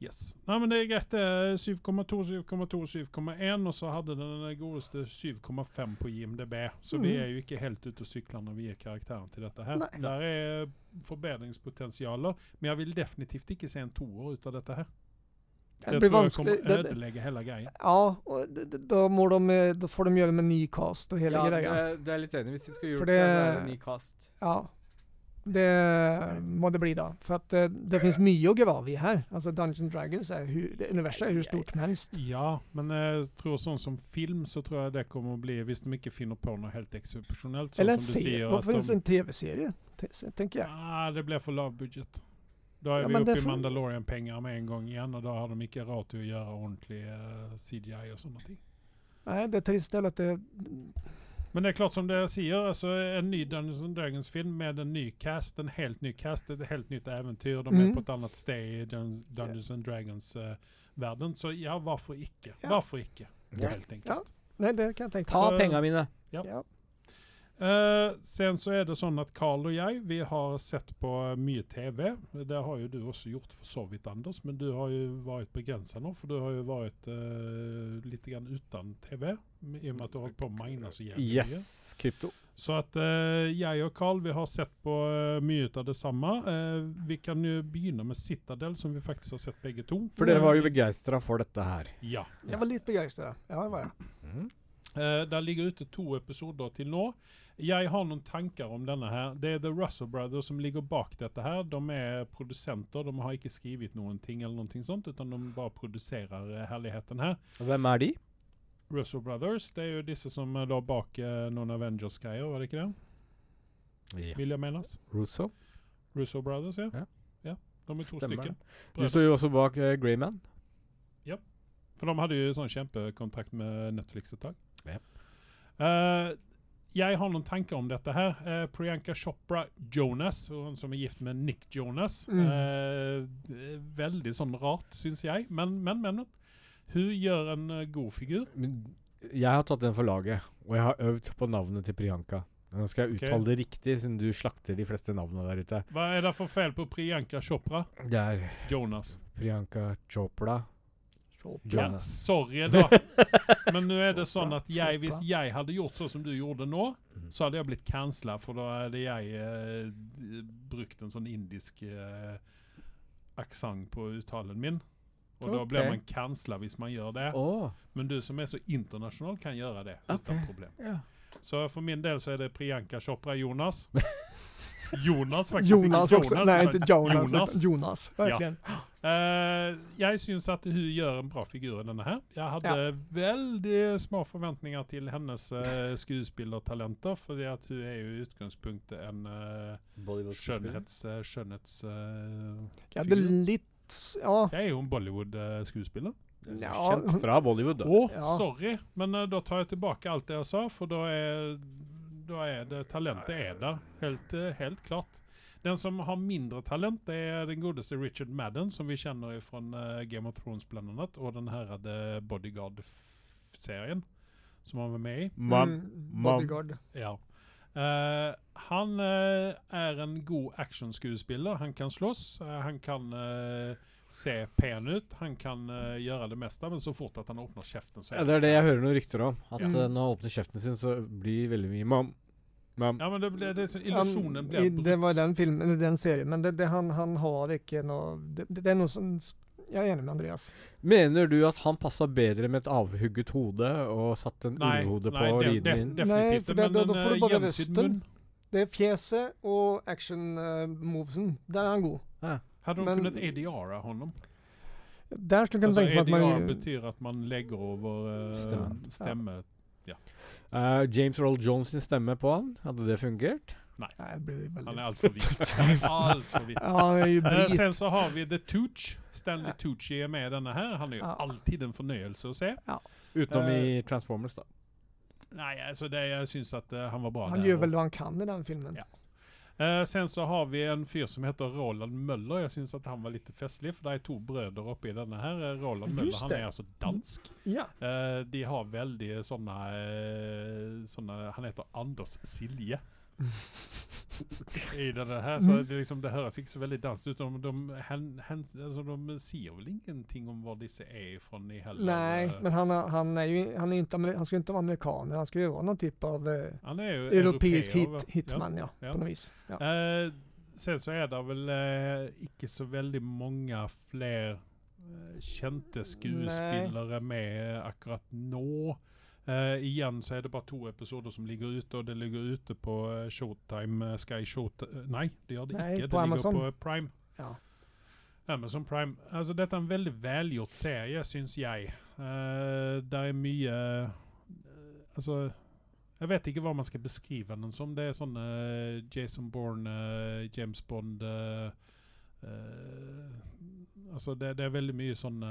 S1: Yes. Nei, men det eh, er greit. det er 7,2, 7,2, 7,1, og så hadde den den godeste 7,5 på IMDb. Så vi
S3: Mhm.
S1: er jo ikke helt ute og sykler når vi gir karakteren til dette her.
S3: Nei.
S1: Der er forbedringspotensialer, men jeg vil definitivt ikke se en toer ut av dette her.
S3: det
S1: Jeg
S3: blir
S1: tror jeg
S3: vanskelig.
S1: kommer
S3: Det, det,
S1: ødelegge hele greia.
S3: ja, og det, det, da, må de, eh, da får de gjøre med ny cast og hele
S4: Ja, det,
S3: greia.
S4: det er litt enig. Hvis vi skal
S3: For
S4: gjøre det, så er
S3: det-
S4: det en ny cast.
S3: Ja. Det må det bli, da. For at det, eh, det finnes mye å grave i her. Altså Dungeons and Dragons er hu, det Universet er hvor stort som helst.
S1: Ja, men jeg tror sånn som film, så tror jeg det kommer å bli Hvis de ikke finner på noe helt eksepsjonelt. Sånn
S3: Eller en
S1: som du
S3: serie.
S1: sier
S3: Hvorfor
S1: at
S3: finnes
S1: de,
S3: en TV-serie, te- se- tenker jeg.
S1: ah, Det blir for lav budget. Da er
S3: Ja,
S1: vi
S3: men det
S1: oppe
S3: er
S1: i
S3: for-
S1: Mandalorian-penger med en gang igjen, og da har de ikke råd til å gjøre ordentlig eh, CGI og sånne ting.
S3: Nei, det er trist eller at det
S1: Men det er klart som dere sier, altså en ny Dungeons and Dragons-film med en ny cast, en helt ny cast, et helt nytt eventyr. De er
S3: Mhm.
S1: på et annet sted i Dun Dungeons and Dragons-verden, så ja, hvorfor ikke?
S3: Ja.
S1: Hvorfor ikke?
S4: Ja.
S1: Helt enkelt.
S3: Ja. Nei, det kan jeg tenke
S4: Ta
S1: Så-
S4: penga mine!
S1: Ja.
S3: Ja.
S1: Eh, sen så er det sånn at Carl og jeg, vi har sett på mye TV. Det har jo du også gjort for så vidt, Anders, men du har jo vært begrensa nå, for du har jo vært eh, litt grann uten TV, i og med at du har holdt på å mine så jævlig mye.
S4: Yes, krypto.
S1: Så at eh, jeg og Carl vi har sett på eh, mye av det samme. Eh, vi kan jo begynne med Citadel, som vi faktisk har sett begge to.
S4: For dere var jo begeistra for dette her.
S1: Ja.
S3: Jeg var litt begeistra. Ja, det var jeg.
S1: Eh, der ligger ute to episoder til nå. Jeg har noen tanker om denne her. Det er The Russell Brothers som ligger bak dette her. De er produsenter. De har ikke skrevet noen ting eller noen ting sånt, utan de bare produserer eh, herligheten her.
S4: Hvem er de?
S1: Russell Brothers, det er jo disse som eh, la bak eh, noen Avengers-greier, var det ikke det? Vil jeg menes.
S4: Russo.
S1: Russell Brothers, ja.
S4: Ja.
S1: Ja, De er to
S4: Stemmer
S1: stykker.
S4: det. De står jo også bak uh, Greyman.
S1: For de hadde jo sånn kjempekontrakt med Netflix et tag.
S4: Ja.
S1: Eh, jeg har noen tanker om dette her. Eh, Priyanka Chopra Jonas, hun som er gift med Nick Jonas. Eh, det er veldig sånn rart, syns jeg. Men, men, men. Hun gjør en eh, god figur.
S4: Men Jeg har tatt den for laget, og jeg har øvd på navnet til Priyanka. Nå skal jeg
S1: Ok.
S4: uttale det riktig, siden du slakter de fleste navnene der ute.
S1: Hva er det for feil på Priyanka Chopra
S4: Det er
S1: Jonas?
S4: Priyanka Chopra.
S1: Ja,
S4: Jonas.
S1: sorry, da. Men nå er det sånn at jeg, hvis
S3: Chopra.
S1: jeg hadde gjort sånn som du gjorde nå, så hadde jeg blitt cancela, for da hadde jeg eh, d- brukt en sånn indisk eh, aksent på uttalen min. Og da blir
S4: Ok.
S1: man cancela hvis man gjør det.
S4: Å,
S1: Men du som er så internasjonal, kan gjøre det uten
S4: Ok.
S1: problem.
S4: ja.
S1: Så for min del så er det Priyanka Chopra Jonas. Jonas, faktisk.
S3: Jonas
S1: ikke
S3: også.
S1: Jonas,
S3: Nei,
S1: utan
S3: ikke Jonas.
S1: Jonas.
S3: Jonas. Jonas. Virkelig.
S1: Eh, jeg syns at hun gjør en bra figur i denne her. Jeg hadde veldig små forventninger til hennes eh, skuespillertalenter, fordi at hun er jo i utgangspunktet en eh, skjønnhets... eh, skjønnhets eh,
S3: Jeg hadde litt Ja.
S1: jeg er jo en eh, Bollywood-skuespiller.
S3: ja. Mm,
S4: Kjent fra Bollywood,
S1: Å,
S4: da.
S3: Ja.
S1: sorry! Men eh, da tar jeg tilbake alt det jeg sa, for da er, da er det Talentet er der. Helt, eh, helt klart. Den som har mindre talent, det er den godeste Richard Madden, som vi kjenner fra Game of Thrones blant annet, og den her er det Bodyguard-serien som han var med i.
S4: Mam.
S3: Mm, bodyguard.
S1: Ja. Eh, han eh, er en god actionskuespiller. Han kan slåss, eh, han kan eh, se pen ut, han kan eh, gjøre det meste, men så fort at han åpner kjeften, så
S4: Ja, det er det jeg hører noen rykter om. At
S3: Ja.
S4: eh, når han åpner kjeften sin, så blir veldig mye mam. Men
S1: Ja, men det ble, det, er så- illusjonen
S3: Han-
S1: ble
S3: i-
S1: brutt.
S3: Det var den filmen, eller den serien, men det, det han, han har ikke noe det, det det er noe som Jeg er enig med Andreas.
S4: mener du at han passa bedre med et avhugget hode og satt en
S1: Nei,
S4: ulvehode på
S1: nei, det-
S4: liden
S1: det-
S4: min?
S1: Definitivt.
S3: Nei, for det-
S1: men
S3: da- da
S1: en,
S3: får du
S1: eh,
S3: bare
S1: gjensydd
S3: resten.
S1: munn.
S3: Det er fjeset og eh, action-movesen. Der er han god.
S1: Hade de
S3: Men-
S1: kunnat ADR-a honom?
S3: Der skulle jeg
S1: Alltså,
S3: kunne tenke
S1: ADR
S3: meg at man
S1: betyr at man legger over eh,
S4: Stämmen.
S1: stämmet.
S4: Eh, James Earl Jones sin stemme på han, hadde det fungert?
S3: Nei, det blir veldig
S1: Han är allt för vitt. Han är allt för vitt.
S3: Ja, han er jo
S1: Eh,
S3: brit.
S1: sen så har vi The Tooch. Stanley Tucci är med i denna här. Han är ju
S3: Ja.
S1: alltid en förnöjelse att se.
S4: Utenom
S1: Eh,
S4: i Transformers, da.
S1: Nej, alltså det, jag syns att eh, han var bra
S3: Han
S1: där.
S3: gjør vel det han kan i den filmen.
S1: Ja. Eh, sen så har vi en fyr som heter Roland Möller. Jag syns att han var lite festlig för det är två bröder uppe i denna här. Eh, Roland Möller,
S3: Just
S1: han
S3: det.
S1: är alltså dansk.
S3: Ja.
S1: Eh, de har veldig sånne, eh, sånne Han heter Anders Silje. I denne her,
S3: Mm.
S1: så det, liksom, det høres ikke så veldig dansk ut. De, de, hen, hen, altså, de sier vel ingenting om hvor disse er fra i heller.
S3: Nej,
S1: Eh,
S3: men han, har- han är ju han, är ju inte, amer- han ska ju inte vara amerikaner, han ska ju vara någon typ av eh,
S1: han er jo
S3: europeisk
S1: europeer,
S3: hit,
S1: va?
S3: hitman ja,
S1: ja.
S3: på något vis. Ja.
S1: Eh, sen så er det vel eh, ikke så veldig mange flere eh, kjente skuespillere med eh, akkurat nå. Eh, igjen så er det bare to episoder som ligger ute, og det ligger ute på eh, Showtime. eh, Sky Short... eh, Nei, det gjør det
S3: Nei,
S1: ikke.
S3: på
S1: Det
S3: Amazon.
S1: ligger på eh, Prime.
S3: Ja.
S1: Amazon Prime. Altså, dette er en veldig velgjort serie, syns jeg. Eh, der er mye eh, Altså Jeg vet ikke hva man skal beskrive den som. Det er sånne Jason Bourne, eh, James Bond eh, eh, Altså, det, det er veldig mye sånne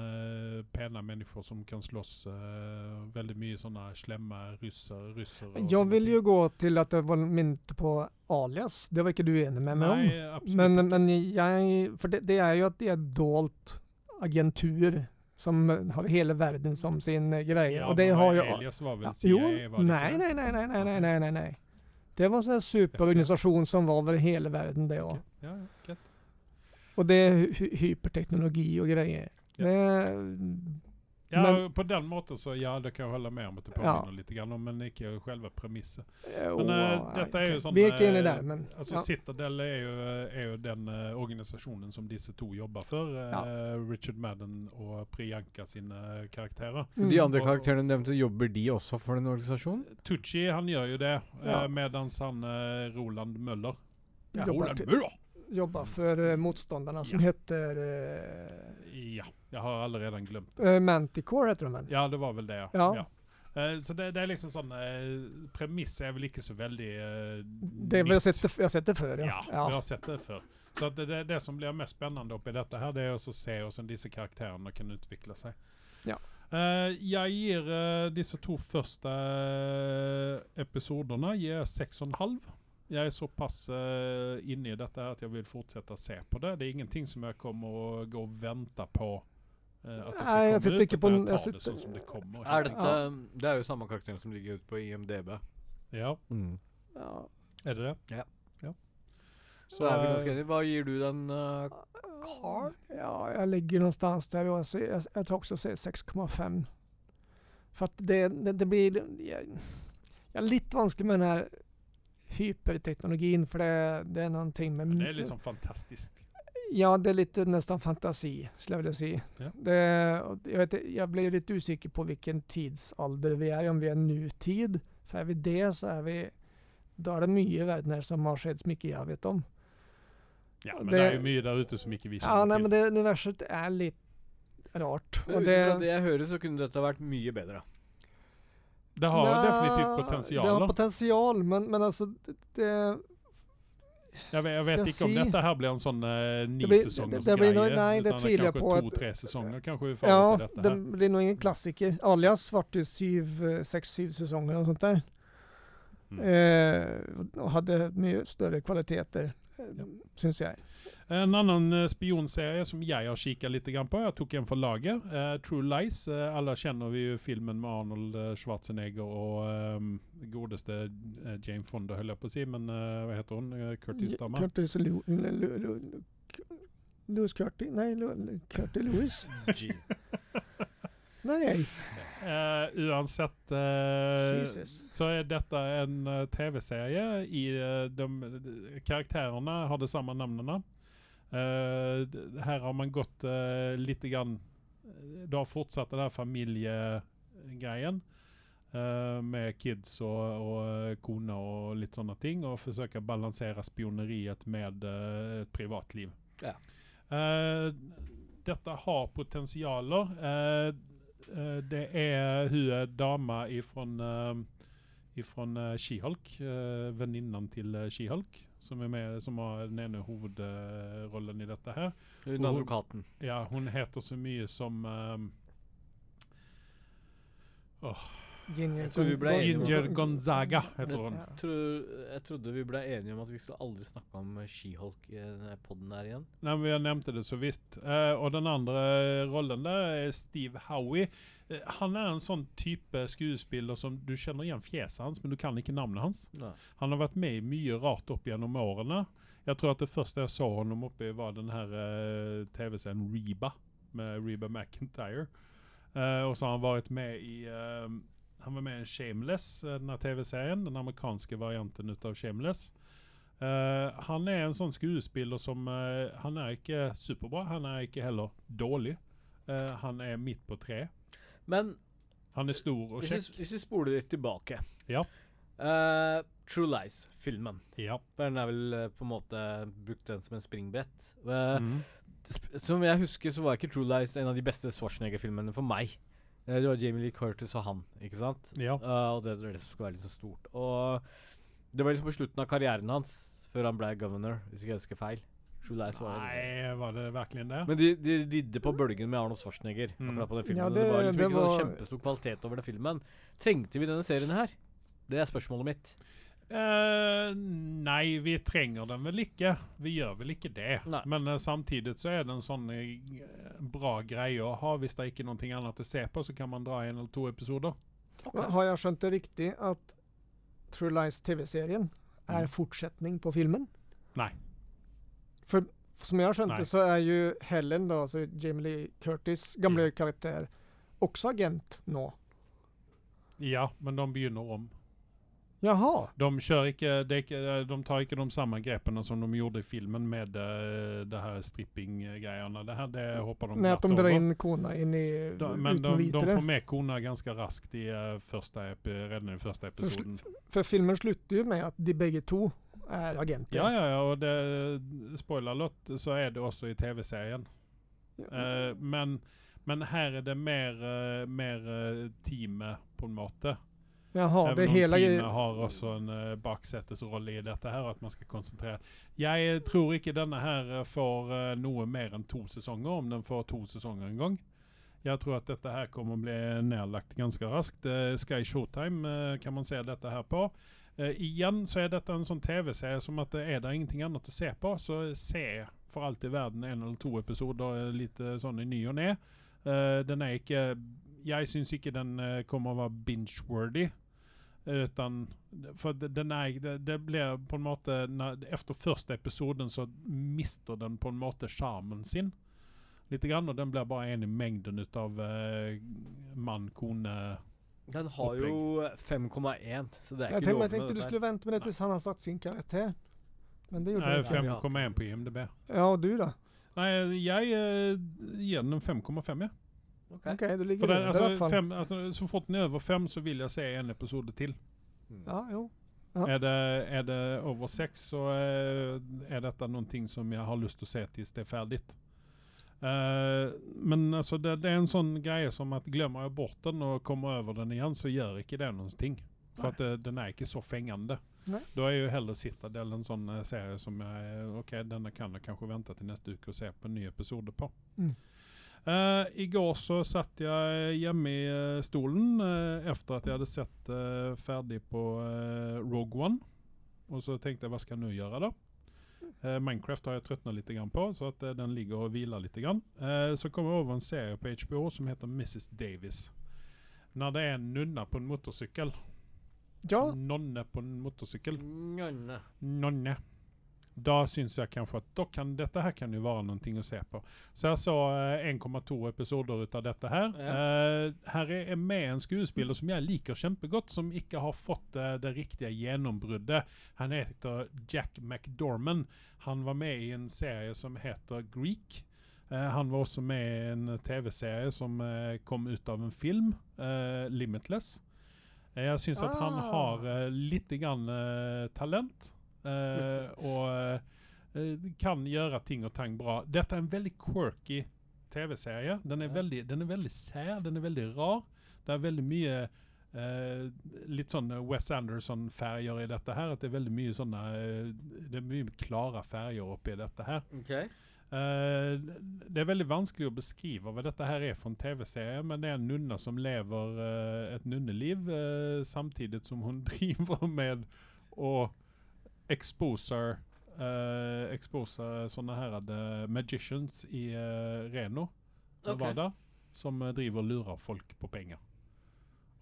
S1: pene mennesker eh, som kan slåss. eh, veldig mye sånne slemme russere. Russer
S3: Jag vill ju gå till att det var inte på alias, det var inte du enig med mig om.
S1: Nei, absolutt
S3: Men,
S1: ikke.
S3: men jeg For det, det er jo at det er dolt agentur som har hele verden som sin eh, greie.
S1: Ja,
S3: og det
S1: men
S3: har jo
S1: Alias var vel
S3: ja,
S1: CIA?
S3: Jo,
S1: var det
S3: nei,
S1: ikke det?
S3: nei, nei, nei, nei, nei, nei, nei, nei. Det var en sånn superorganisasjon som var over hele verden, det òg.
S1: Ok, Ja, ja, greit.
S3: Og det er hy hyperteknologi og greier.
S1: Ja.
S3: Det,
S1: Ja,
S3: Men-
S1: på den måten så ja, det kan jeg holde med om at det
S3: Ja.
S1: påminner litt grann om, men ikke selve premisset.
S3: jo,
S1: Men eh,
S3: nei,
S1: dette er jo
S3: ok.
S1: sånn
S3: Vi er ikke inne
S1: eh,
S3: der, men
S1: Altså
S3: ja.
S1: Citadel er jo, er jo den eh, organisasjonen som disse to jobber for. eh, Richard Madden og Priyanka eh, sine karakterer.
S4: De
S3: Mm.
S4: andre
S1: og-
S4: karakterene nevnte, jobber de også for den organisasjonen?
S1: Tucci han gjør jo det, eh,
S3: Ja.
S1: medans han eh, Roland Møller
S3: jobber,
S1: Roland
S3: til-
S1: Møller!
S3: jobber for eh, motstanderne som heter eh,
S1: Ja, jeg har allerede glemt
S3: eh, Manticore, heter de vel?
S1: Ja, det var vel det, ja.
S3: Ja.
S1: Eh, så det, det er liksom sånn uh, Premiss er vel ikke så veldig eh,
S3: Det har
S1: nytt.
S3: jeg sett, det- jeg har sett det før, ja.
S1: Ja, vi har sett det før. Så att det, det, det som blir mest spennende oppi dette, her, det er også å se hvordan disse karakterene kan utvikle seg.
S3: Ja.
S1: Eh, jeg gir eh, disse to første eh, episodene gir jeg seks og en halv. Jeg er såpass eh, inne i dette her at jeg vil fortsette å se på det. Det er ingenting som jeg kommer å gå og vente på eh, at det skal
S3: Nei, jeg
S1: komme
S3: sitter
S1: ut.
S3: ikke på
S1: utan
S3: den- jeg
S1: Jeg tar det
S3: sitter-
S1: sånn som det kommer.
S4: Er dette,
S3: Ja.
S4: Det er jo samme karakteren som ligger ute på IMDb.
S1: Ja,
S4: Mm.
S3: ja.
S1: er det det?
S4: Ja.
S1: ja.
S4: Så er vi
S1: eh,
S4: ganske enige. Hva gir du den, eh, Carl?
S3: Ja, jag ligger någonstans där. Jag, ser- jag, jag tror också jag säger 6,5. För att det, det, det blir... Jag, jag är lite vansklig med den här hyperteknologin för det, det är någonting med...
S1: men det er liksom fantastisk.
S3: Ja, det är lite nästan fantasi, skulle jag vilja säga.
S1: Ja.
S3: Det, och jag, vet, inte, jag blir lite osäker på vilken tidsålder vi är i, om vi är nutid. För är vi det så är vi... Då är det mycket i världen här som har skett som inte jag vet om.
S1: Ja,
S3: Og
S1: men det,
S3: det-
S1: er jo mye der ute som ikke vi kjenner
S3: Ja, nej, men
S1: til.
S3: det universet är lite rart.
S4: Ut ifra det jeg hører, så kunne dette vært mye bedre.
S1: Det har
S3: Nei,
S1: definitivt potensial.
S3: Det
S1: da.
S3: har potensial, men, men altså det, det,
S1: jeg, ve- jeg vet
S3: skal
S1: ikke om
S3: si-
S1: dette her blir en sånn eh,
S3: Det blir-
S1: ni-sesongers
S3: det- det blir
S1: greie.
S3: noe- nei, det
S1: utan
S3: tviler jeg på at-
S1: Kanskje to-tre sesonger kanskje vi får
S3: Ja,
S1: til dette
S3: det
S1: her.
S3: blir nog ingen klassiker. Alias vart ju syv, eh, sex, syv säsonger och sånt där.
S4: Mm.
S3: Eh, och hade mycket större kvaliteter, eh,
S1: Ja.
S3: syns jag.
S1: En annen eh, spionserie som jeg har kikket litt grann på, jeg tok en for laget, eh, True Lies. Eh, alle kjenner vi jo filmen med Arnold eh, Schwarzenegger og eh, godeste eh, Jane Fonda, holdt jeg på å si, men eh, hva heter hun? Eh, Curtis Dama?
S3: Curtis Lu- Lu- Lu- Lu- Louis Curtis? Nej, Lu- Lu- Curtis Lewis? Nej.
S1: Eh, Eh, uansett eh,
S3: Jesus.
S1: så är detta en eh, tv-serie. I eh, de, de Karaktärerna har de samma namnen. Eh, d- här har man gått eh, lite grann... eh, Det har fortsatt den här familjegrejen. eh, med kids och, och eh, kona och lite sådana ting. Och försöka balansera spioneriet med eh, ett privatliv.
S4: Ja.
S1: Eh, detta har potentialer. Eh, eh, det är hur dama ifrån eh, ifrån uh, She-Hulk, eh, väninnan till eh, She-Hulk, som är med, som har den ena huvudrollen i detta här.
S4: Hun
S1: Og hun-
S4: advokaten.
S1: Ja, hon heter så mycket som ehm,
S3: Ginger,
S4: Jag tror vi blev enige om-
S1: Ginger Gonzaga heter hon.
S3: Ja.
S4: Tror, jeg trodde vi ble enige om at vi skulle aldri snakke om She-Hulk i denne podden her igjen.
S1: Nej, men jag nämnde det så visst. Eh, och den andra eh, rollen där är Steve Howie. Eh, han är en sån typ av skådespelare som du känner igen fjäsen hans, men du kan inte namnet hans.
S4: Nei.
S1: Han har varit med i mycket rart upp genom åren. Jag tror att det första jag såg honom uppe i var den här eh, tv-serien Reba. Med Reba McIntyre. Eh, och så har han varit med i... eh, han var med i Shameless, eh, den här tv-serien. Den amerikanska varianten utav Shameless. Eh, han är en sån skådespelare som... eh, han är inte superbra. Han är inte heller dålig. Eh, han är mitt på tre.
S4: Men
S1: Han är stor och
S4: hvis vi,
S1: käck.
S4: hvis vi spoler litt tilbake
S1: Ja.
S4: Eh, True Lies-filmen.
S1: Ja.
S4: Den er vel eh, på en måte brukt den som en springbrett. Eh,
S1: Mm.
S4: sp- Som jeg husker, så var ikke True Lies en av de beste Schwarzenegger-filmene for meg. Eh, Det var Jamie Lee Curtis og han, ikke sant?
S1: Ja.
S4: Eh, og det var det som skulle være liksom stort. Og det var liksom på slutten av karrieren hans, før han ble governor, hvis ikke jeg husker feil. True Lies var
S1: Nej, var det verkligen det?
S4: Men de, de ridde på bølgen med Arnold Schwarzenegger.
S1: Mm.
S4: Akkurat på den filmen
S3: Ja,
S4: og
S3: det-
S4: det, var liksom
S3: det
S4: ikke
S3: var-
S4: sånn kjempestor kvalitet over den filmen. Trengte vi denne serien her? Det er spørsmålet mitt.
S1: Eh, nej, vi tränger den väl icke. Vi gör väl icke det.
S4: Nej.
S1: Men eh, samtidigt så är det en sån eh, g- bra grej att ha. Visst det är icke någonting annat att se på så kan man dra en eller två episoder.
S3: Men Har jag skönt det riktigt att True Lies tv-serien är
S1: Mm.
S3: fortsättning på filmen?
S1: Nej.
S3: För som jag har skönt
S1: Nej.
S3: det så är ju Helen då, alltså Jamie Lee Curtis gamla
S1: Mm.
S3: karaktär, också agent nå.
S1: Ja, men de begynner om.
S3: Jaha,
S1: De kör icke, det är icke, eh, de tar icke de samma greppen som de gjorde i filmen med eh, det här stripping-grejerna. Det här det hoppar de
S3: när att
S1: glatt
S3: de drar
S1: över.
S3: in korna in i
S1: De-
S3: ut
S1: men
S3: med
S1: de, de
S3: vidare.
S1: får med korna ganska raskt i eh, första, epi- redan i första episoden.
S3: För filmen slutar ju med att de bägge två är agenter.
S1: Ja, ja, ja. Och det, spoiler alert, så är det också i tv-serien. Eh,
S3: Mm.
S1: men, men här är det mer, eh, mer uh, teamet på en måte.
S3: Jaha, det
S1: Även
S3: är
S1: om
S3: hela
S1: teamet
S3: grejen.
S1: har också en uh, baksätesroll i detta här, att man ska koncentrera. Jag eh, tror inte denna här eh, får uh, nog mer än två säsonger, om den får två säsonger en gång. Jag tror att detta här kommer bli nedlagt ganska raskt. Eh, Sky Showtime eh, kan man se detta här på. Eh, igen så är detta en sån tv-serie som att det är där ingenting annat att se på. Så eh, se för allt i världen en eller två episoder eh, lite sån i ny och ner. Eh, den är inte, jag syns inte den eh, kommer att vara binge-worthy. Utan, för det- den är, det, det blir på en måte, när, efter första episoden så mister den på en måte charmen sin. Lite grann och den blir bara en i mängden utav eh, man, kone.
S4: Den har jo 5,1, så det
S3: Jag
S4: er ikke
S3: tänkte,
S4: noe
S3: jag tänkte du skulle vänta med det
S1: Nej.
S3: tills han har satt sin karaktär. Men det gjorde
S1: Nej,
S3: du inte.
S1: 5,1 på IMDB.
S3: Ja, och du då?
S1: Nej, jag eh, ger den en 5,5 ja.
S3: Okej, du ligger
S1: För den,
S3: under i alla
S1: alltså,
S3: fall.
S1: fem, alltså, så fort den är över 5 så vill jag se en episod till.
S3: Ja, jo. Ja.
S1: Är det, är det över sex så eh, är detta någonting som jag har lust att se tills det är färdigt. Eh, men alltså det, det är en sån grej som att glömmer jag bort den och kommer över den igen så gör inte det någonting. För
S3: Nej.
S1: att det, den är inte så fängande.
S3: Nej.
S1: Då är ju hellre Citadel en sån eh, serie som jag, eh, okej denna kan jag kanske vänta till nästa vecka och se på nya episoder på.
S3: Mm.
S1: Eh, igår så satt jag hemma i eh, stolen eh, efter att jag hade sett eh, färdig på eh, Rogue One. Och så tänkte jag, vad ska jag nu göra då? Eh, Minecraft har jag tröttnat lite grann på, så att eh, den ligger och vilar lite grann. Eh, så kommer jag över en serie på HBO som heter Mrs Davis. När det är en nunna på en motorcykel.
S3: Ja,
S2: Mm.
S1: Nonne på en motorcykel.
S4: Njonne.
S1: Nonne. Där syns jag kanske att då kan, detta här kan ju vara någonting att se på. Så jag såg eh, 1,2 episoder utav dette her. Eh, her er er med en skuespiller som jeg liker kjempegodt, som ikke har fått eh, det riktige gjennombruddet. Han heter Jack McDorman. Han var med i en serie som heter Greek. Eh, han var også med i en TV-serie som eh, kom ut av en film, eh, Limitless. Eh, jeg syns at han
S3: Ah.
S1: har eh, litt grann eh, talent. Eh, og eh, kan gjøre ting og tang bra. Dette er en veldig quirky TV-serie. Den er, veldig, den er veldig sær, den er veldig rar. Det er veldig mye eh, litt sånn West Anderson-färger i dette her. At det er veldig mye sånne eh, Det er mye klare färger oppi dette her. Eh, det er veldig vanskelig å beskrive hva dette her er for en TV-serie, men det er en nunne som lever eh, et nunneliv eh, samtidig som hun driver med å exposer eh, exposer sånne her eh, magicians i eh, Reno, Nevada, som eh, driver og lurer folk på penger.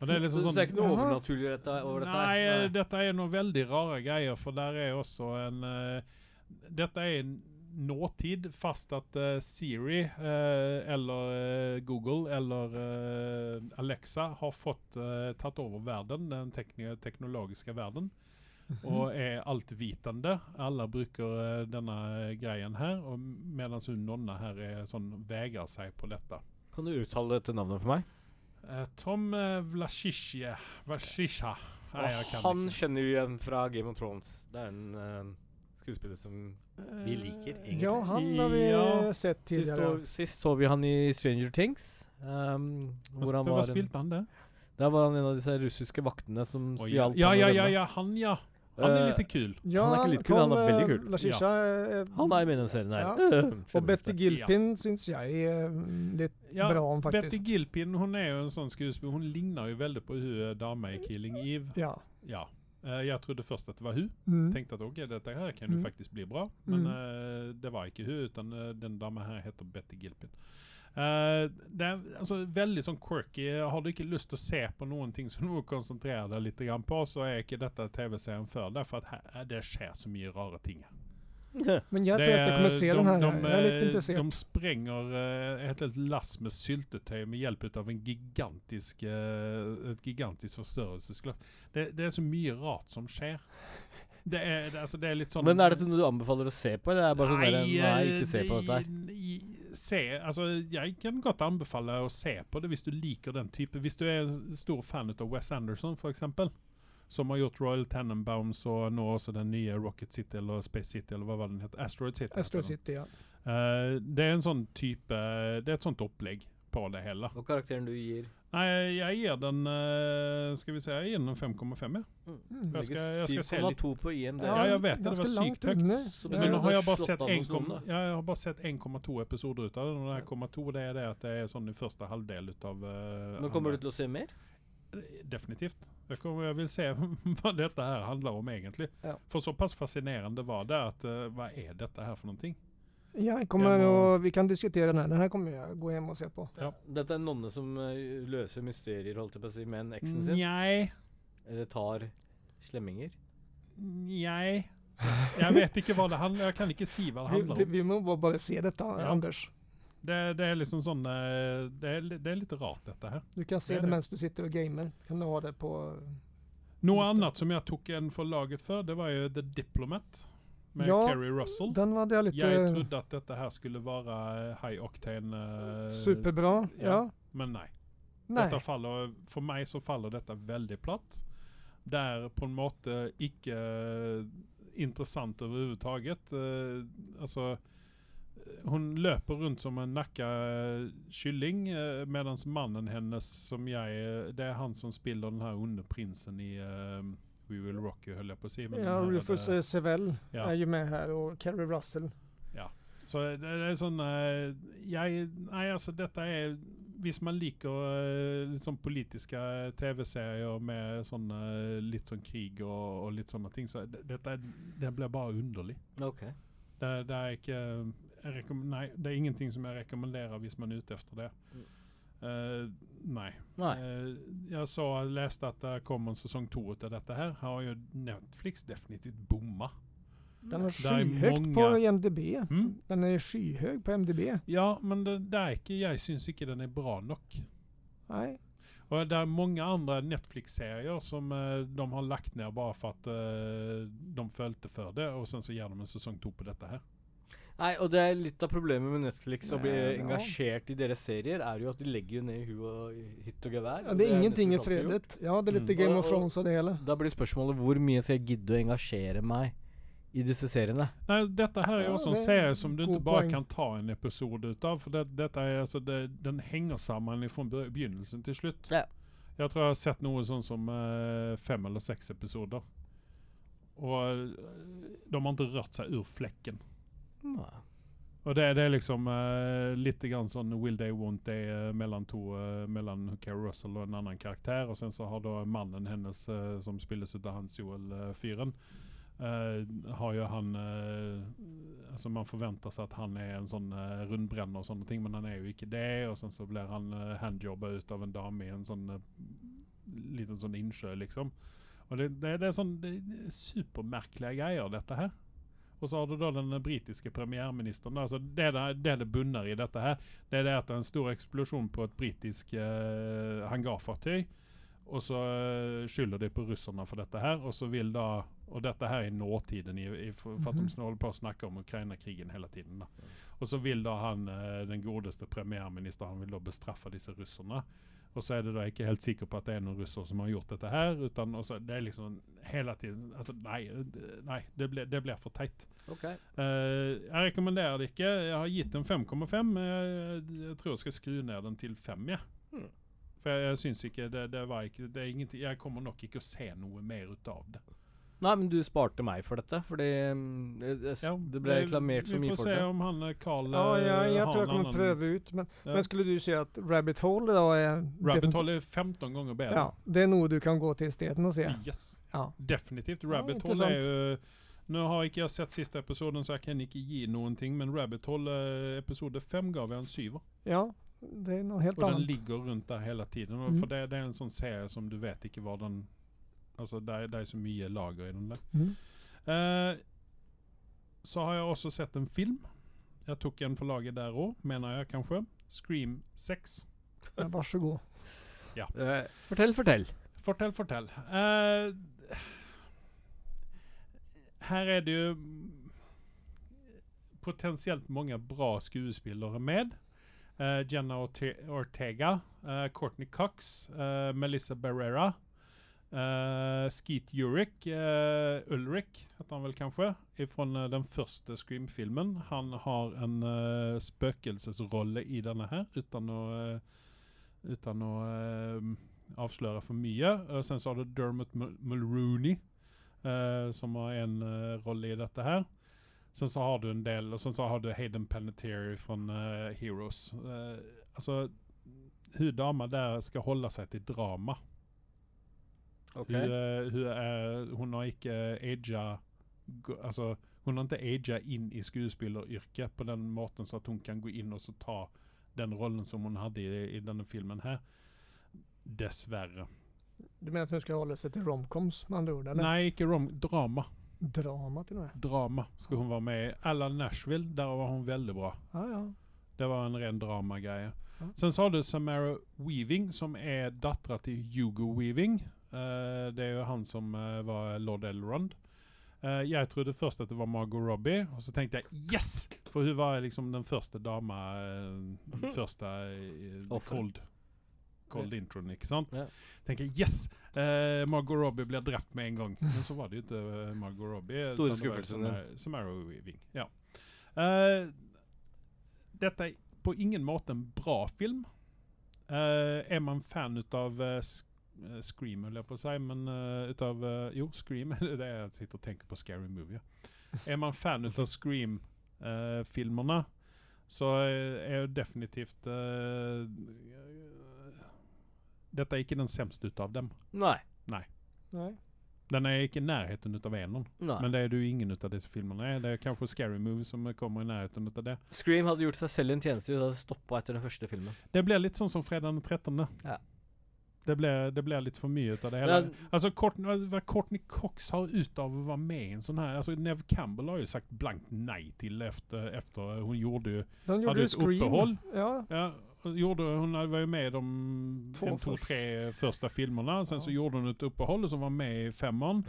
S1: Og det er liksom
S4: så,
S1: sånn
S4: det er ikke noe
S3: Jaha.
S4: overnaturlig dette, over dette
S1: Nei,
S4: her?
S1: eh, dette er noen veldig rare greier, for der er også en eh, Dette er en nåtid, fast at eh, Siri eh, eller eh, Google eller eh, Alexa har fått eh, tatt over verden, den tekni- teknologiske verden, og er altvitende. Alle bruker eh, denne greien her, og mens hun nonna her er sånn, vegrer seg på dette.
S2: Kan du uttale dette navnet for meg?
S1: Eh, Tom eh, Vlasichje Vlasisha. Nei, jeg kan
S2: han
S1: ikke.
S2: kjenner vi igjen fra Game of Thrones. Det er en eh, skuespiller som vi liker, egentlig.
S3: Mm. Ja, han har vi
S1: Ja,
S3: sett
S2: Sist,
S3: tidigare.
S2: så- sist så vi han i Stranger Things. ehm, hvor han
S1: Hva
S2: var en,
S1: spilte han det?
S2: der var han en av disse russiske vaktene som
S1: Oi, ja.
S2: stjal på
S1: ja, ja,
S2: den
S1: ja,
S2: hjemme.
S1: ja, han ja. Han er
S2: Eh,
S1: lite kul.
S3: Ja,
S2: Han er ikke litt kul, han er
S3: Tom,
S2: veldig
S3: eh,
S2: kul.
S3: Lachicha, eh,
S2: Han er med i den serien her.
S3: Ja.
S2: Ser
S3: Och
S2: vi
S3: Betty
S2: det.
S3: Gilpin syns jag är eh, lite
S1: Ja,
S3: bra om faktiskt.
S1: Betty Gilpin hun er jo en sånn skuespiller. Hun ligner jo veldig på hun dama i 'Killing Eve'.
S3: Ja.
S1: Ja. Eh, jeg trodde først at det var hun.
S3: Mm.
S1: Tenkte at ok, dette her kan jo
S3: Mm.
S1: faktisk bli bra. Men
S3: Mm.
S1: eh, det var ikke hun, utan eh, den dama her heter Betty Gilpin. Eh, det er altså, veldig sånn quirky. Har du ikke lyst til å se på noen ting som du må konsentrere deg litt grann på, så er ikke dette TV-serien for deg, for at her, eh, det skjer så mye rare ting. her.
S3: Men jag tror att jag kommer se den här. jag är lite intresserad.
S1: De sprenger eh, ett helt lass med syltetøy med hjelp av en gigantisk, eh, et gigantisk forstørrelsesglass. Det, det er så mye rart som skjer. Det er, det, altså, det er eh, litt sånn
S2: Men er dette noe du anbefaler å se på? Eller er det bare sånn der, nei, ikke se på dette her.
S1: her. Se, altså, jeg kan godt anbefale å se på det hvis du liker den type. Hvis du er stor fan av Wes Anderson, for eksempel, som har gjort Royal Tenenbaums og nå også den nye Rocket City eller Space City eller hva var den het? Asteroid City. heter
S3: Astro
S1: den.
S3: City, ja.
S1: Eh, det er en sånn type Det er et sånt opplegg på det hele.
S4: Og karakteren du gir
S1: Nei, jeg gir den eh, Skal vi se, jeg gir den en 5,5. jeg.
S3: Mm.
S1: Jeg skal, jeg skal se litt
S4: 7,2 på IMD.
S1: Ja, jeg vet det. Det
S3: ganska
S1: var
S3: långt
S1: sykt högt.
S3: inne.
S4: Så
S3: Det
S1: Men nå
S3: är-
S1: har jeg bare
S4: slått
S1: sett
S4: av hos
S1: 1,2
S4: noen, da.
S1: ja, jeg har bare sett 1,2 episoder ut av den. Og det her 1,2 det er det at det er sånn i første halvdel ut av eh,
S4: Men kommer du til å se mer?
S1: andre- Definitivt. Jeg, kommer, jeg vil se hva dette her handler om, egentlig.
S3: Ja.
S1: For såpass fascinerende var det at eh, Hva er dette her for noen ting?
S3: Ja, jag kommer
S1: Jag må-
S3: att- vi kan diskutera den här. Den här kommer jag gå hem och se på.
S4: Dette er en nonne som eh, løser mysterier, holdt jeg på å si, med en eksen sin.
S1: Njei.
S4: Eller tar slemminger.
S1: Njei. Jeg vet ikke hva det handler Jeg kan ikke si hva det
S3: Vi,
S1: handler
S3: det,
S1: om.
S3: vi må bara, bara se detta,
S1: Ja.
S3: Anders.
S1: Det, det er liksom sånn eh, det er, li- det er litt rart, dette her.
S3: Du kan se
S1: Det
S3: det,
S1: är det.
S3: medan du sitter och gamer. Kan du ha det på...
S1: Noe
S3: Mm.
S1: annet som jeg tok en for laget før, det var jo The Diplomat med
S3: Ja,
S1: Kerry Russell.
S3: Den var det lite
S1: Jeg trodde at dette her skulle være eh, high octane eh,
S3: superbra. Ja.
S1: ja. Men nei.
S3: Nej.
S1: Dette faller, for meg så faller dette veldig platt. Det er på en måte ikke eh, interessant overhodet. Eh, altså eh, Hun løper rundt som en nakka eh, kylling, uh, mens mannen hennes, som jeg eh, Det er han som spiller den her onde prinsen i eh, We Will Rock You, holdt jeg på å si. men
S3: Ja,
S1: den her er
S3: Rufus
S1: det-
S3: eh, Sewell
S1: Ja.
S3: är ju med här och Kerry Russell.
S1: Så det, det er sånn eh, alltså Jeg Nei, altså, dette er Hvis man liker eh, litt sånn politiske eh, TV-serier med sånn eh, litt sånn krig og, og litt sånne ting, så det, dette er, det blir bare underlig.
S4: Ok.
S1: Det, det er ikke jeg rekom- Nei, det er ingenting som jeg rekommenderer hvis man er ute etter det. Eh, nei.
S4: Nei.
S1: Eh, jeg så, leste at det kom en sesong to ut av dette her. Her har jo Netflix definitivt bomma.
S3: Den er
S1: Det er
S3: skyhøyt på
S1: mange.
S3: MDB.
S1: Mm.
S3: Den er skyhøy på MDB.
S1: Ja, men det, det er ikke, jeg syns ikke den er bra nok.
S3: Nei.
S1: Og det er mange andre Netflix-serier som eh, de har lagt ned bare for at eh, de følte for det, og sen så gjør de en sesong to på dette her.
S4: Nei, og det er litt av problemet med Netflix å bli
S3: Nei, ja.
S4: engasjert i deres serier, er jo at de legger jo ned i huet og i hytt og gevær.
S3: Ja,
S4: og
S3: det er ingenting er
S4: Netflix alltid gjort.
S3: fredet. Ja, det er litt
S1: Mm.
S3: Game
S4: Og-
S3: of
S4: og-
S3: Thrones og det hele.
S4: Da blir spørsmålet hvor mye skal jeg gidde å engasjere meg i disse seriene?
S1: Nei, dette her er
S3: Ja,
S1: også en
S3: det er
S1: serie som du
S3: god
S1: ikke bare
S3: poeng.
S1: kan ta en episode ut av, for det, dette er, altså, det, den henger sammen fra be- begynnelsen til slutt.
S4: Ja.
S1: Jeg tror jeg har sett noe sånn som eh, fem eller seks episoder. Og eh, de har ikke rørt seg ur flekken.
S3: Mm.
S4: Nei.
S1: Og det, det er liksom eh, litt grann sånn Will they, won't they eh, mellom to eh, Mellom Carrie Russell og en annen karakter. Og sen så har da mannen hennes, eh, som spilles ut av Hans Joel eh, Fyren, eh, har jo han eh, Altså Man forventer seg at han er en sånn eh, rundbrenner og sånne ting, men han er jo ikke det. Og sen så blir han eh, handjobba ut av en dame i en sånn eh, liten sånn innsjø, liksom. Og det, det, det er sånn det, det er supermerkelige greier, dette her. Og så har du da den britiske premierministeren. Altså det det, det det bunner i dette her, det er det at det er en stor eksplosjon på et britisk eh, hangarfartøy. Og så eh, skylder de på russerne for dette her, og så vil da Og dette her i nåtiden, i, i, for, for at de
S3: Mhm.
S1: sn- holder på å snakke om Ukraina-krigen hele tiden. da. Og så vil da han, eh, den godeste premierministeren, han vil da bestraffe disse russerne. Og så er det da ikke helt sikker på at det er noen russer som har gjort dette her. Utan også, det er liksom hele tiden alltså, altså Nei, d- nei det, ble, det blir for teit.
S4: Ok.
S1: Eh, jeg rekommenderer det ikke. Jeg har gitt den 5,5. men Jeg, jeg tror jeg skal skru ned den til 5. Ja.
S3: Mm.
S4: Hmm.
S1: For jeg, jeg syns ikke det, det var ikke, det er ingenting, Jeg kommer nok ikke å se noe mer ut av det.
S4: Nei, men du sparte meg for dette, fordi mm, det, det, s-
S1: Ja,
S4: det ble
S1: eh,
S4: reklamert så mye
S1: Vi får
S4: for
S1: se
S4: det.
S1: om han eh, Carl
S3: Ja,
S1: eh,
S3: jeg, jeg
S1: har
S3: tror jeg
S1: en
S3: kommer
S1: annen-
S3: prøve ut. Men,
S1: Ja.
S3: men skulle du si at Rabbit Hole da er defin-
S1: Rabbit Hole er 15 ganger bedre.
S3: Ja, det er noe du kan gå til isteden og se.
S1: Yes,
S3: Ja.
S1: definitivt.
S3: Ja,
S1: Rabbit Hole er jo Nå har ikke jeg sett siste episoden, så jeg kan ikke gi noen ting, men Rabbit Hole eh, episode 5 ga vi en syver.
S3: ja, det er noe helt
S1: Og den
S3: annet.
S1: ligger rundt der hele tiden. Og
S3: Mm.
S1: For det, det er en sånn serie som du vet ikke hva den alltså, Altså, det er, det er så mye lager i den der.
S3: Mm.
S1: Eh, så har jeg også sett en film. Jeg tok en for laget der òg, mener jeg kanskje. Scream 6.
S3: Ja, vær så god.
S4: Eh, fortell, fortell.
S1: Fortell, fortell. Eh, her er det jo potensielt mange bra skuespillere med. Eh, Jenna Orte Ortega, eh, Courtney Cox, eh, Melissa Barrera, eh, Skeet Ulrich, eh, Ulrich heter han vel kanskje, ifrån eh, den første Scream-filmen. Han har en eh, spøkelsesrolle i denne her, uten å, eh, uten å eh, avsløre for mye. Eh, sen så har du Dermot Mul- Mulrooney, eh, som har en eh, rolle i dette her. Sen så har du en del, og sen så har du Hayden Panettiere fra Heroes. Eh, altså, hun dama der skal holde seg til drama.
S4: Ok.
S1: Hun, eh, hun, er, hun har ikke aga gå- Altså, hun alltså, har ikke aga inn i skuespilleryrket på den måten så at hun kan gå inn og så ta den rollen som hun hadde i, i denne filmen her. Dessverre.
S3: Du mener at hun skal holde seg til romcoms, med andre ord? Eller?
S1: Nei, ikke rom. Drama.
S3: Drama til og med.
S1: Drama skal hun være med i. Eller Nashville. Der var hun veldig bra.
S3: Ja, ja.
S1: Det var en ren dramagreie.
S3: Ja.
S1: Sen så har du Samara Weaving, som er dattera til Hugo Weaving. Eh, det er jo han som eh, var lord Elrond. Eh, jeg trodde først at det var Margot Robbie, og så tenkte jeg yes! For hun var liksom den første dama eh, Den første eh,
S4: Offer.
S1: cold, cold introen, ikke sant?
S4: Ja.
S1: Tenker jeg, yes! Eh, Margot Robbie blir drept med en gang. Men så var det jo ikke eh, Margot Robbie.
S4: Store
S1: utan det var jo
S4: skuffelsen
S1: Samara- Samara Weaving. Ja. Eh, dette er på ingen måte en bra film. Eh, er man fan av eh, Scream, holder jeg på å si, men eh, utav eh, Jo, Scream det er det jeg sitter og tenker på Scary Movie. ja. Er man fan av Scream-filmerne, så eh, er jo definitivt eh, Dette er ikke den semste ut av dem.
S4: Nei.
S3: Nei.
S1: Den er ikke i nærheten ut av eneren,
S4: Nei.
S1: men det er det jo ingen ut av disse filmene. er. Det er kanskje Scary Movie som kommer i nærheten ut av det.
S4: Scream hadde gjort seg selv en tjeneste hvis de hadde stoppa etter den første filmen.
S1: Det blir litt sånn som fredag den 13.
S4: Ja.
S1: Det blir, det blir litt for mye ut av det hele.
S4: Men-
S1: Alltså Courtney, vad Courtney Cox har ut av att vara med i en sån här, alltså Nev Campbell har ju sagt blankt nej till efter, efter hon gjorde ju,
S3: De gjorde
S1: hade
S3: ju
S1: ett uppehåll.
S3: Scream. Ja,
S1: Ja, och gjorde, hon var ju med i de
S3: Två
S1: en, två,
S3: först.
S1: tre första filmerna. Sen så
S3: Ja.
S1: gjorde hon ett uppehåll som var med i femman.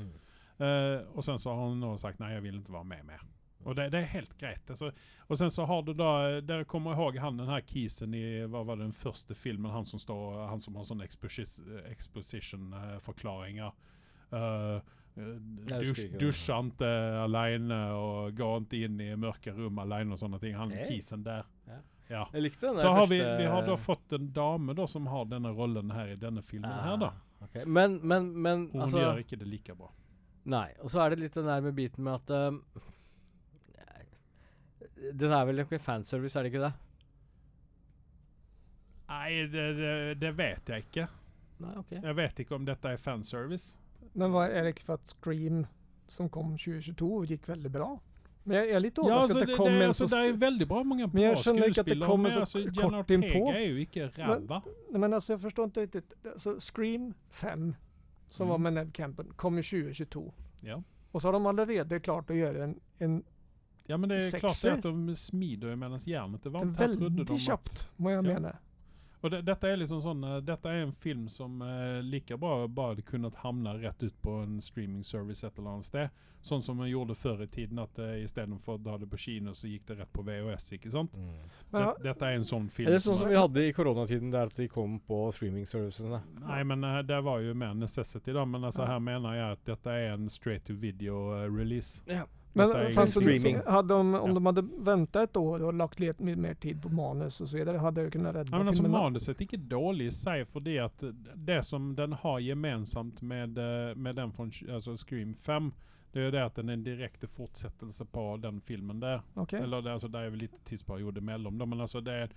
S3: Mm.
S1: Eh, och sen så har hon nog sagt nej, jag vill inte vara med mer. Och det, det är helt grejt. Alltså, och sen så har du då, eh, där kommer jag ihåg han den här kisen i, vad var det, den första filmen, han som står, han som har sån exposition, exposition eh, förklaringar. Eh, eh,
S4: det
S1: dusch,
S4: ska jag göra.
S1: duscha inte alene och gå inte in i mörka rum alene och sådana ting. Han
S4: Nej.
S1: kisen där.
S4: Ja.
S1: Ja.
S4: Jeg likte den
S1: Så
S4: der
S1: har vi,
S4: første-
S1: vi har da fått en dame da som har denne rollen her i denne filmen her,
S3: Ah.
S1: da.
S4: Ah, Ok, Men, men, men
S1: Hun
S3: Alltså-
S4: altså,
S1: gjør ikke det like bra.
S4: Nei. Og så er det litt den der med biten med at um, Den er vel ikke fanservice, er det ikke det?
S1: Nei, det, det, det vet jeg ikke.
S4: Nei, ok.
S1: Jeg vet ikke om dette er fanservice.
S3: men var är det för att Scream som kom 2022 gick väldigt bra? Men jag är lite
S1: Ja,
S3: overraskad
S1: altså,
S3: att
S1: det,
S3: det
S1: det, alltså
S3: kom
S1: er-
S3: en
S1: altså,
S3: så...
S1: det er veldig bra mange
S3: Men
S1: bra
S3: jeg skjønner ikke at det
S1: skuespillere.
S3: kommer så
S1: altså,
S3: k-
S1: Jenna
S3: kort innpå.
S1: Ortega er jo ikke ræva.
S3: Nej, men alltså jag förstår inte riktigt. Alltså, Scream 5, som
S1: Mm.
S3: var med Nev Campbell, kom ju 2022.
S1: Ja.
S3: Och så har de allerede klart att göra en, en,
S1: Ja, men det er
S3: sexy.
S1: klart det at de smider jo mens jernet er
S3: en
S1: varmt. Her trodde de
S3: väldigt
S1: at
S3: köpt, vad jag
S1: Ja.
S3: menar.
S1: Og det, dette er liksom sånn eh, Dette er en film som eh, like bra bare hadde kunnet hamne rett ut på en streaming service et eller annet sted. Sånn som man gjorde før i tiden, at eh, istedenfor å ha det på kino, så gikk det rett på VHS. ikke sant?
S3: Men,
S1: Det- dette er en sånn film.
S4: Eller sånn
S1: som-
S4: som vi hadde i koronatiden, der at de kom på streaming-servicene.
S1: Nei, men eh, det var jo mer necessity, da. Men alltså altså,
S3: Ja.
S1: her mener jeg at dette er en straight to video-release.
S3: men
S1: detta är ju
S3: fanns det,
S4: streaming.
S3: Hade de, om
S1: Ja.
S3: de hade väntat ett år och lagt lite mer tid på manus och så vidare, hade jag kunnat rädda
S1: Ja, men altså,
S3: filmerna.
S1: manuset er ikke dårlig i seg, fordi at det som den har gemensamt med, eh, med den fra altså Scream 5, det er jo det at den er en direkte fortsettelse på den filmen der.
S3: Okej.
S1: Eller det, alltså, altså, det er jo litt tidsperiode mellom dem, men altså det er,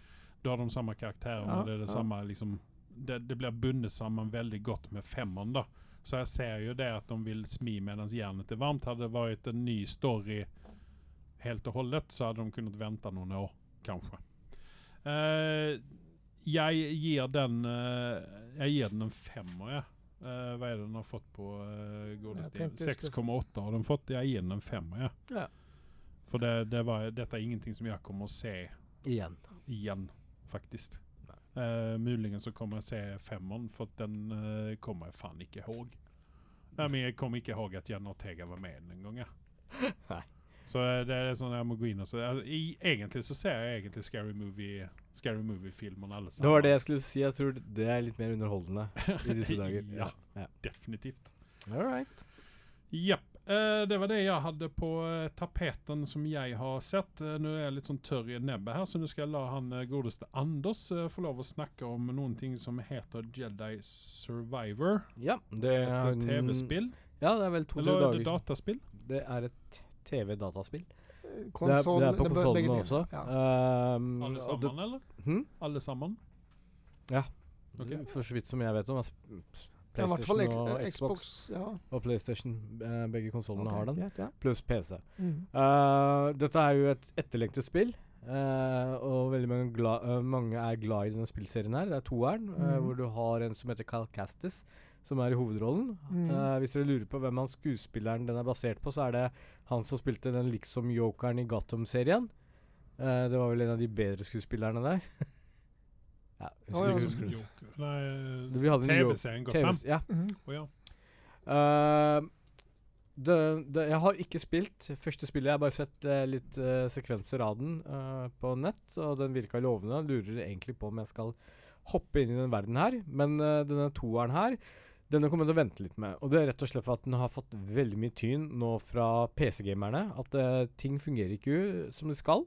S1: da har de samme karakterene,
S3: Ja,
S1: og det er det
S3: ja.
S1: samme liksom det, det blir bundet sammen veldig godt med femmeren, da. Så jeg ser jo det at de vil smi mens jernet er varmt. Hadde det vært en ny story helt og holdet, så hadde de kunnet vente noen år, kanskje. Eh, jeg gir den eh, Jeg gir den en femmer, jeg. Eh, hva er det den har fått på uh,
S3: Jeg tenkte jeg skulle-
S1: 6,8 har den fått. Jeg gir den en femmer, jeg.
S4: Ja.
S1: For det, det var, dette er ingenting som jeg kommer å se
S4: Igjen.
S1: igjen, faktisk. Uh, Muligens så kommer jeg se femmeren, for at den eh, kommer jeg faen ikke ihåg. Nei, men jeg kommer ikke ihåg at Jenna Ortega var med i den en gang. Jeg.
S4: Nei.
S1: Så eh, det er sånn jeg må gå inn og se. Altså, i, egentlig så ser jeg egentlig Scary Movie Scary Movie-filmene alle sammen.
S4: Det var det jeg skulle si. Jeg tror det er litt mer underholdende i disse dager.
S1: ja,
S4: Ja.
S1: definitivt.
S4: All right.
S1: Japp. Eh, det var det jeg hadde på eh, tapeten som jeg har sett. Eh, nå er jeg litt sånn tørr i nebbet her, så nå skal jeg la han eh, godeste Anders eh, få lov å snakke om noen ting som heter Jedi Survivor.
S4: Ja, det
S1: Et eh,
S4: er
S1: TV-spill.
S4: Ja, det er vel to-tre
S1: Eller er
S4: dager
S1: det
S4: siden.
S1: dataspill?
S4: Det er et TV-dataspill. Det, er-
S3: Konsol,
S4: det er på
S3: bör- bägge
S4: konsollene
S3: delar.
S4: også.
S3: Ja.
S4: Ehm,
S1: Alle
S4: og det-
S1: sammen, eller?
S4: Hm?
S1: Alle sammen? Ok.
S4: For så vidt som jeg vet om. er s-
S3: Ja, I vart fall
S4: PlayStation
S3: ex-
S4: og
S3: eh,
S4: Xbox
S3: Xbox. Ja.
S4: og PlayStation. eh, Begge konsollene
S3: Okej,
S4: har den.
S3: vet jag.
S4: Pluss PC.
S3: Mm.
S4: Eh, dette er jo et etterlengtet spill. eh, og veldig mange, gla eh, mange er glad i denne spillserien her. Det er toeren, eh,
S3: Mhm.
S4: hvor du har en som heter Cal Castis, som er i hovedrollen.
S3: Mhm.
S4: Eh, hvis dere lurer på hvem han skuespilleren den er basert på, så er det han som spilte den liksom-jokeren i Gotham-serien. Eh, det var vel en av de bedre skuespillerne der. ja, jeg
S3: Å, ja,
S4: husker ikke
S3: men-
S4: skuespilleren.
S1: Joker. Nei,
S4: Vi hadde en jo-
S1: TV-serien går fram.
S4: TV ja.
S3: Mm.
S1: Å ja.
S4: Eh, det, det, jeg har ikke spilt første spillet. Jeg har bare sett eh, litt eh, sekvenser av den eh, på nett, og den virka lovende. Jeg lurer egentlig på om jeg skal hoppe inn i den verden her, men eh, denne toeren her denne kommer jeg til å vente litt med. Og det er rett og slett for at den har fått veldig mye tyn nå fra PC-gamerne. At eh, ting fungerer ikke u- som det skal.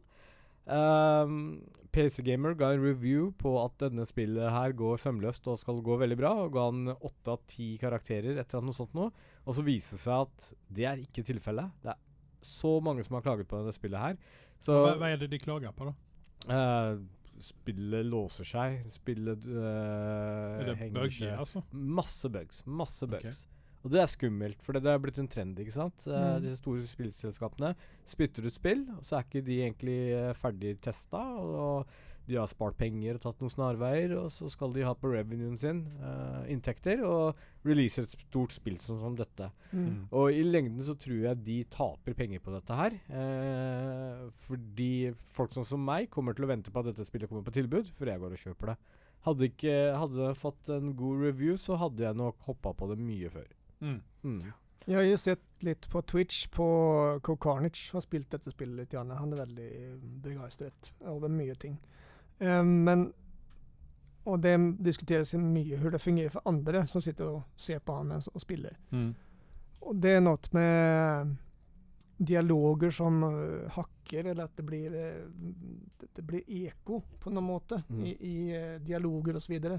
S4: Ehm, PC Gamer ga en review på at denne spillet her går sømløst og skal gå veldig bra, og ga han åtte av ti karakterer etter at noe sånt nå. Og så viser det seg at det er ikke tilfellet. Det er så mange som har klaget på dette spillet her. Så
S1: Hva, hva er det de klager på, da?
S4: eh, spillet låser seg. Spillet eh,
S1: Er det alltså?
S4: henger
S1: buggy,
S4: seg.
S1: altså?
S4: Masse bugs. Masse
S1: Ok.
S4: bugs. Og det er skummelt, for det det er blitt en trend. ikke sant? Eh,
S3: Mm.
S4: disse store spillselskapene spytter ut spill, og så er ikke de egentlig eh, ferdig testa. Og de har spart penger og tatt noen snarveier, og så skal de ha på revenuen sin eh, inntekter og release et stort spill sånn som dette.
S3: Mm.
S4: Og i lengden så tror jeg de taper penger på dette her. Eh, fordi folk sånn som meg kommer til å vente på at dette spillet kommer på tilbud før jeg går og kjøper det. Hadde, ikke, hadde jeg fått en god review, så hadde jeg nok hoppa på det mye før.
S1: Mm.
S4: Mm.
S3: Jag har ju sett lite på Twitch på Coe Carnage har spilt dette spillet litt grann. Han mm, er veldig begeistret over mye ting. Eh, men Og det diskuteres mye hvordan det fungerer for andre som sitter og ser på han mens- og spiller.
S1: Mm.
S3: Og det er noe med dialoger som eh, hakker, eller at det blir, eh, det- det blir eko på noen måte
S4: Mm.
S3: i, i eh, dialoger osv. Det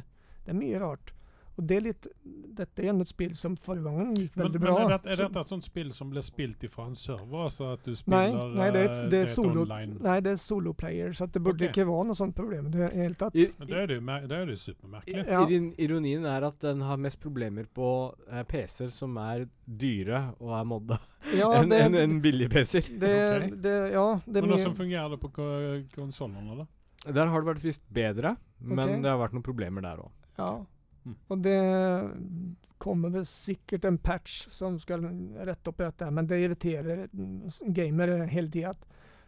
S3: er mye rart. Og det er litt, dette er ändå et spill som forrige gangen gikk
S1: Men,
S3: veldig
S1: men
S3: bra.
S1: er, det, er
S3: Så-
S1: dette et sånt spill som blir spilt ifra en server? Altså at du
S3: Nei,
S1: spiller
S3: nei, det er, et,
S1: eh,
S3: det er solo,
S1: online
S3: nei, det er soloplayer, så at det burde
S1: Ok.
S3: ikke være noe sånt problem. Det er helt tatt.
S4: I,
S1: Men det er det jo mer- det er det jo supermerkelig.
S3: Ja.
S4: Irin- Ironien er at den har mest problemer på eh, PC-er som er dyre og er modda,
S3: Ja,
S4: enn
S3: det,
S4: enn- enn billige PC-er.
S3: det,
S1: Ok.
S3: det, ja, det er
S1: Men
S3: mye
S1: hvordan fungerer det på ko- konsollene, da?
S4: Der har det vært visst bedre, men
S3: Ok.
S4: det har vært noen problemer der òg.
S3: ja.
S1: Mm.
S3: Og det kommer vel sikkert en patch som skal rette opp i dette, men det irriterer mm, gamere hele tida.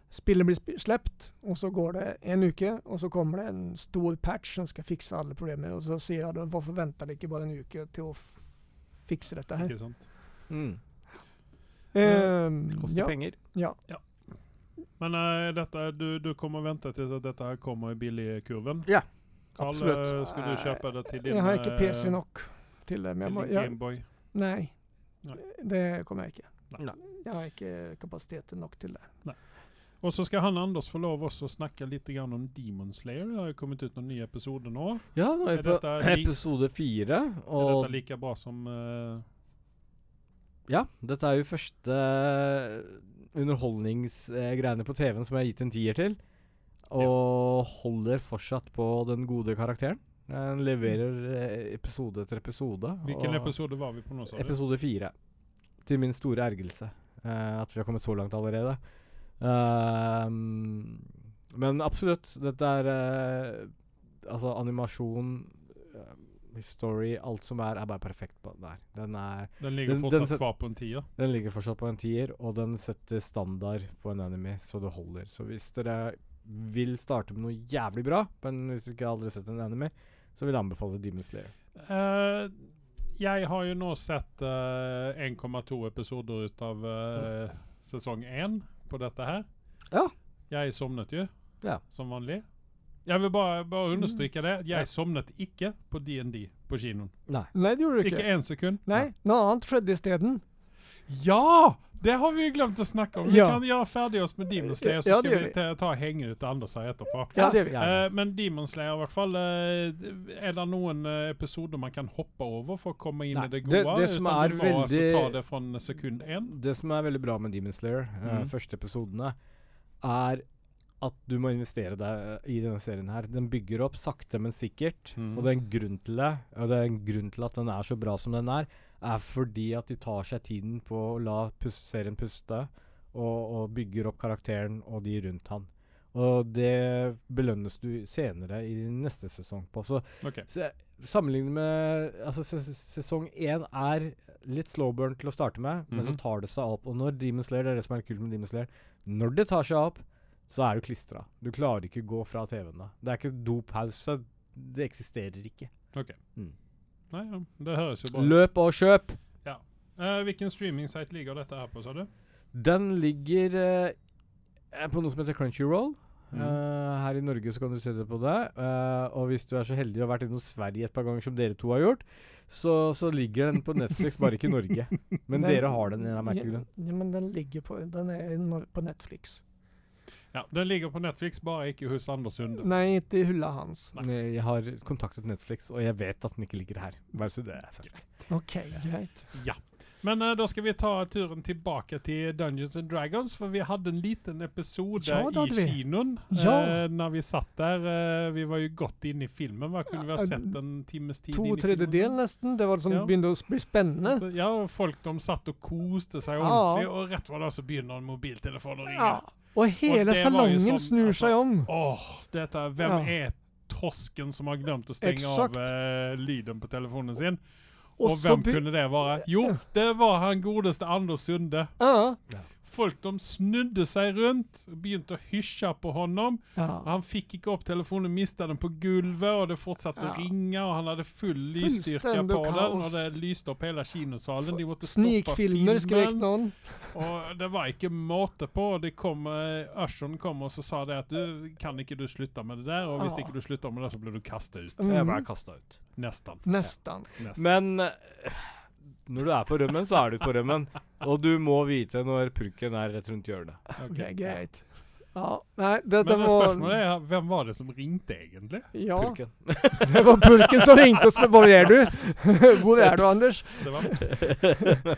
S3: Spillet blir sp slept, og så går det en uke, og så kommer det en stor patch som skal fikse alle problemer. Og så sier jeg da hvorfor venter dere ikke bare en uke til å f fikse dette her?
S1: Ikke sant?
S4: Mm.
S3: Ehm,
S4: Koster
S3: ja,
S4: penger.
S3: ja.
S1: Men eh, dette, du, du kommer vente til at dette her kommer i billigkurven?
S4: Ja,
S1: Carl,
S4: absolutt.
S1: eh, skal du kjøpe det til din
S3: Jeg har ikke
S1: eh,
S3: PC nok til det. Men jeg
S1: Til
S3: må,
S1: din
S3: jeg,
S1: Gameboy?
S3: nei,
S1: Nei.
S3: det kommer jeg ikke.
S1: Nei.
S3: Jeg har ikke kapasitet nok til det.
S1: Og så skal han Anders få lov også å snakke litt grann om Demon Slayer. Det har jo kommet ut noen nye episoder nå.
S4: Ja, nå er
S1: Er
S4: vi på
S1: dette lik-
S4: episode fire.
S1: Er
S4: Og
S1: dette like bra som eh,
S4: ja, dette er jo første eh, underholdningsgreiene på TV-en som jeg har gitt en tier til. Og holder fortsatt på den gode karakteren. Den leverer eh, episode etter episode.
S1: Hvilken
S4: og-
S1: episode var vi på nå, sa du?
S4: Episode fire. Til min store ergrelse. eh, at vi har kommet så langt allerede. Ehm, men absolutt. Dette er eh, Altså, animasjon, eh, story, alt som er, er bare perfekt på den her. Den, er,
S1: Den ligger
S4: Den- den
S1: fortsatt
S4: set-
S1: kvar på en tier.
S4: den ligger fortsatt på en tier, og den setter standard på en enemy, så det holder. Så hvis dere vil starte med noe jævlig bra, men hvis dere ikke aldri har sett en enemy, så vil jeg anbefale Demon Slayer.
S1: Eh, jeg har jo nå sett eh, 1,2 episoder ut av eh, sesong 1 på dette her.
S4: Ja.
S1: Jeg sovnet jo,
S4: Ja.
S1: som vanlig. Jeg vil bare, bare understryke det. Jeg sovnet ikke på DND på kinoen.
S3: Nei, det gjorde du
S1: Ikke
S3: ikke.
S1: én sekund.
S3: Nei, Noe annet skjedde isteden.
S1: Ja! Det har vi jo glemt å snakke om. Vi
S3: Ja.
S1: kan gjøre ferdig oss med Demon Slayer, så
S3: Ja, det
S1: skal
S3: gjør
S1: vi
S3: vi.
S1: ta, ta og henge ut Anders her etterpå.
S3: Ja, det er vi.
S4: gjerne.
S1: Eh, men Demon Slayer, i hvert fall. eh, er det noen eh, episoder man kan hoppe over for å komme inn
S4: Nei,
S1: i det gode?
S4: det- det som
S1: Utan
S4: er
S1: du må altså
S4: veldig-
S1: ta det fra sekund én.
S4: Det som er veldig bra med Demon Slayer, eh,
S1: Mhm.
S4: første episodene, er at du må investere deg eh, i denne serien her. Den bygger opp sakte, men sikkert.
S1: Mhm.
S4: Og det er en grunn til det. Og det er en grunn til at den er så bra som den er, er fordi at de tar seg tiden på å la pus serien puste, og, og bygger opp karakteren og de rundt han. Og det belønnes du senere i neste sesong på. Så
S1: Ok.
S4: så, Sammenlignet med altså, se- se- Sesong én er litt slowburn til å starte med, men så
S1: Mhm.
S4: tar det seg opp. Og når Demon Slayer, det er det som er kult med Demon Slayer, når det tar seg opp, så er du klistra. Du klarer ikke gå fra TV-ene. Det er ikke dopause. Det eksisterer ikke.
S1: Nei, ja, det høres jo bra ut.
S4: Løp og kjøp!
S1: Eh, hvilken streamingsite ligger dette her på, sa du?
S4: Den ligger eh, eh, på noe som heter Crunchyroll.
S1: Mhm.
S4: Eh, her i Norge så kan du se det på det. Eh, og hvis du er så heldig å ha vært innom Sverige et par ganger, som dere to har gjort, så, så ligger den på Netflix, bare ikke i Norge. Men
S3: Den-
S4: dere har den i en eller annen merkelig
S3: Ja,
S4: grunn.
S3: ja, men den ligger på Den er i Nor- på Netflix.
S1: Ja, Den ligger på Netflix, bare ikke hos Anders Sunde.
S3: Nei, ikke i hylla hans.
S4: Eh, Jeg har kontaktet Netflix, og jeg vet at den ikke ligger her. Bare så det er sagt.
S3: OK, greit.
S1: Men eh, da skal vi ta turen tilbake til Dungeons and Dragons, for vi hadde en liten episode
S3: Ja, det
S1: i
S3: hadde vi.
S1: kinoen
S3: Ja.
S1: eh, når vi satt der. Eh, vi var jo godt inne i filmen. Hva kunne vi
S3: Ja,
S1: ha sett en times tid
S3: To
S1: inn i
S3: tredjedel
S1: filmen?
S3: nesten. Det var liksom
S1: Ja.
S3: begynte å bli spennende.
S1: Så, Alltså, Ja, og folk de satt og koste seg
S3: Ja.
S1: ordentlig, og rett var det alltså så begynner en mobiltelefon å ringe.
S3: Ja. Og hele
S1: det var
S3: salongen
S1: jo sånn,
S3: snur
S1: altså.
S3: seg om.
S1: Åh, dette er- Hvem
S3: Ja.
S1: er tosken som har glemt å stenge
S3: Exakt.
S1: av eh, lyden på telefonen sin?
S3: Og
S1: Og,
S3: så
S1: hvem
S3: be-
S1: kunne det være? Jo,
S3: Ja.
S1: det var han godeste Anders Sunde.
S3: Ja.
S1: Folk de snudde seg rundt, begynte å hysje på honom.
S3: ja.
S1: Han fikk ikke opp telefonen, mistet den på gulvet, og det fortsatte
S3: Ja.
S1: å ringe. og Han hadde full lysstyrke
S3: Fullstendig
S1: på den,
S3: kaos.
S1: og det lyste opp hele kinosalen. De måtte stoppe
S3: Snikfilmer, skrek
S1: filmen.
S3: noen.
S1: Og det var ikke måte på. og det kom, eh, Usheren kom og så sa det at du kan ikke du slutte med det der, og hvis
S3: Ja.
S1: ikke du slutter med det, så blir du kastet ut.
S4: Så jeg
S3: Mm,
S4: ble kasta ut.
S1: Nesten.
S3: nesten.
S1: Nesten.
S4: Men eh, når du er på rømmen, så er du på rømmen. Og du må vite når purken er rett rundt hjørnet.
S1: Ok.
S3: Det er greit. Ja, nei, dette
S1: Men det
S3: var
S1: spørsmålet er hvem var det som ringte, egentlig?
S3: Ja,
S4: Purken.
S3: det var purken som ringte og spurte hvor er du? Hvor er du, Anders?
S1: Det var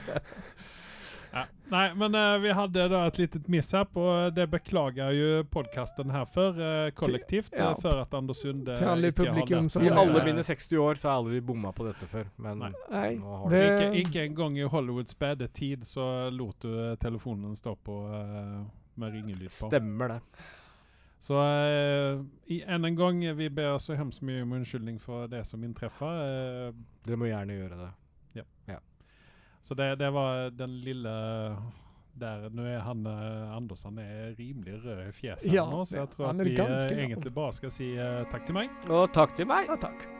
S1: ja. Nei, men eh, vi hadde da et litet mishap, og eh, det beklager jo podkasten her for, eh, kollektivt,
S3: Til- ja.
S1: eh, for at Anders Sunde
S3: Til alle i
S1: ikke har lært
S3: publikum som-
S1: noe.
S4: I alle mine 60 år så har jeg aldri bomma på dette før. Men
S1: Nei.
S3: Nei,
S4: nå har
S3: det-
S4: det
S1: ikke, ikke engang i Hollywoods spede tid så lot du eh, telefonen stå på eh, med ringelyd på.
S4: Stemmer det.
S1: Så eh, i, än en gang, eh, vi ber så hemskt mye om unnskyldning for det som inntreffer. eh,
S4: Dere må gjerne gjøre det.
S1: Så det, det var den eh, lille der Nå er han eh, Anders han er rimelig rød i fjeset
S3: Ja,
S1: nå, så jeg
S3: det-
S1: tror
S3: han
S1: at
S3: er
S1: vi eh,
S3: ganske lav.
S1: egentlig bare skal si eh, takk til meg.
S4: Og takk til meg.
S3: ja, takk.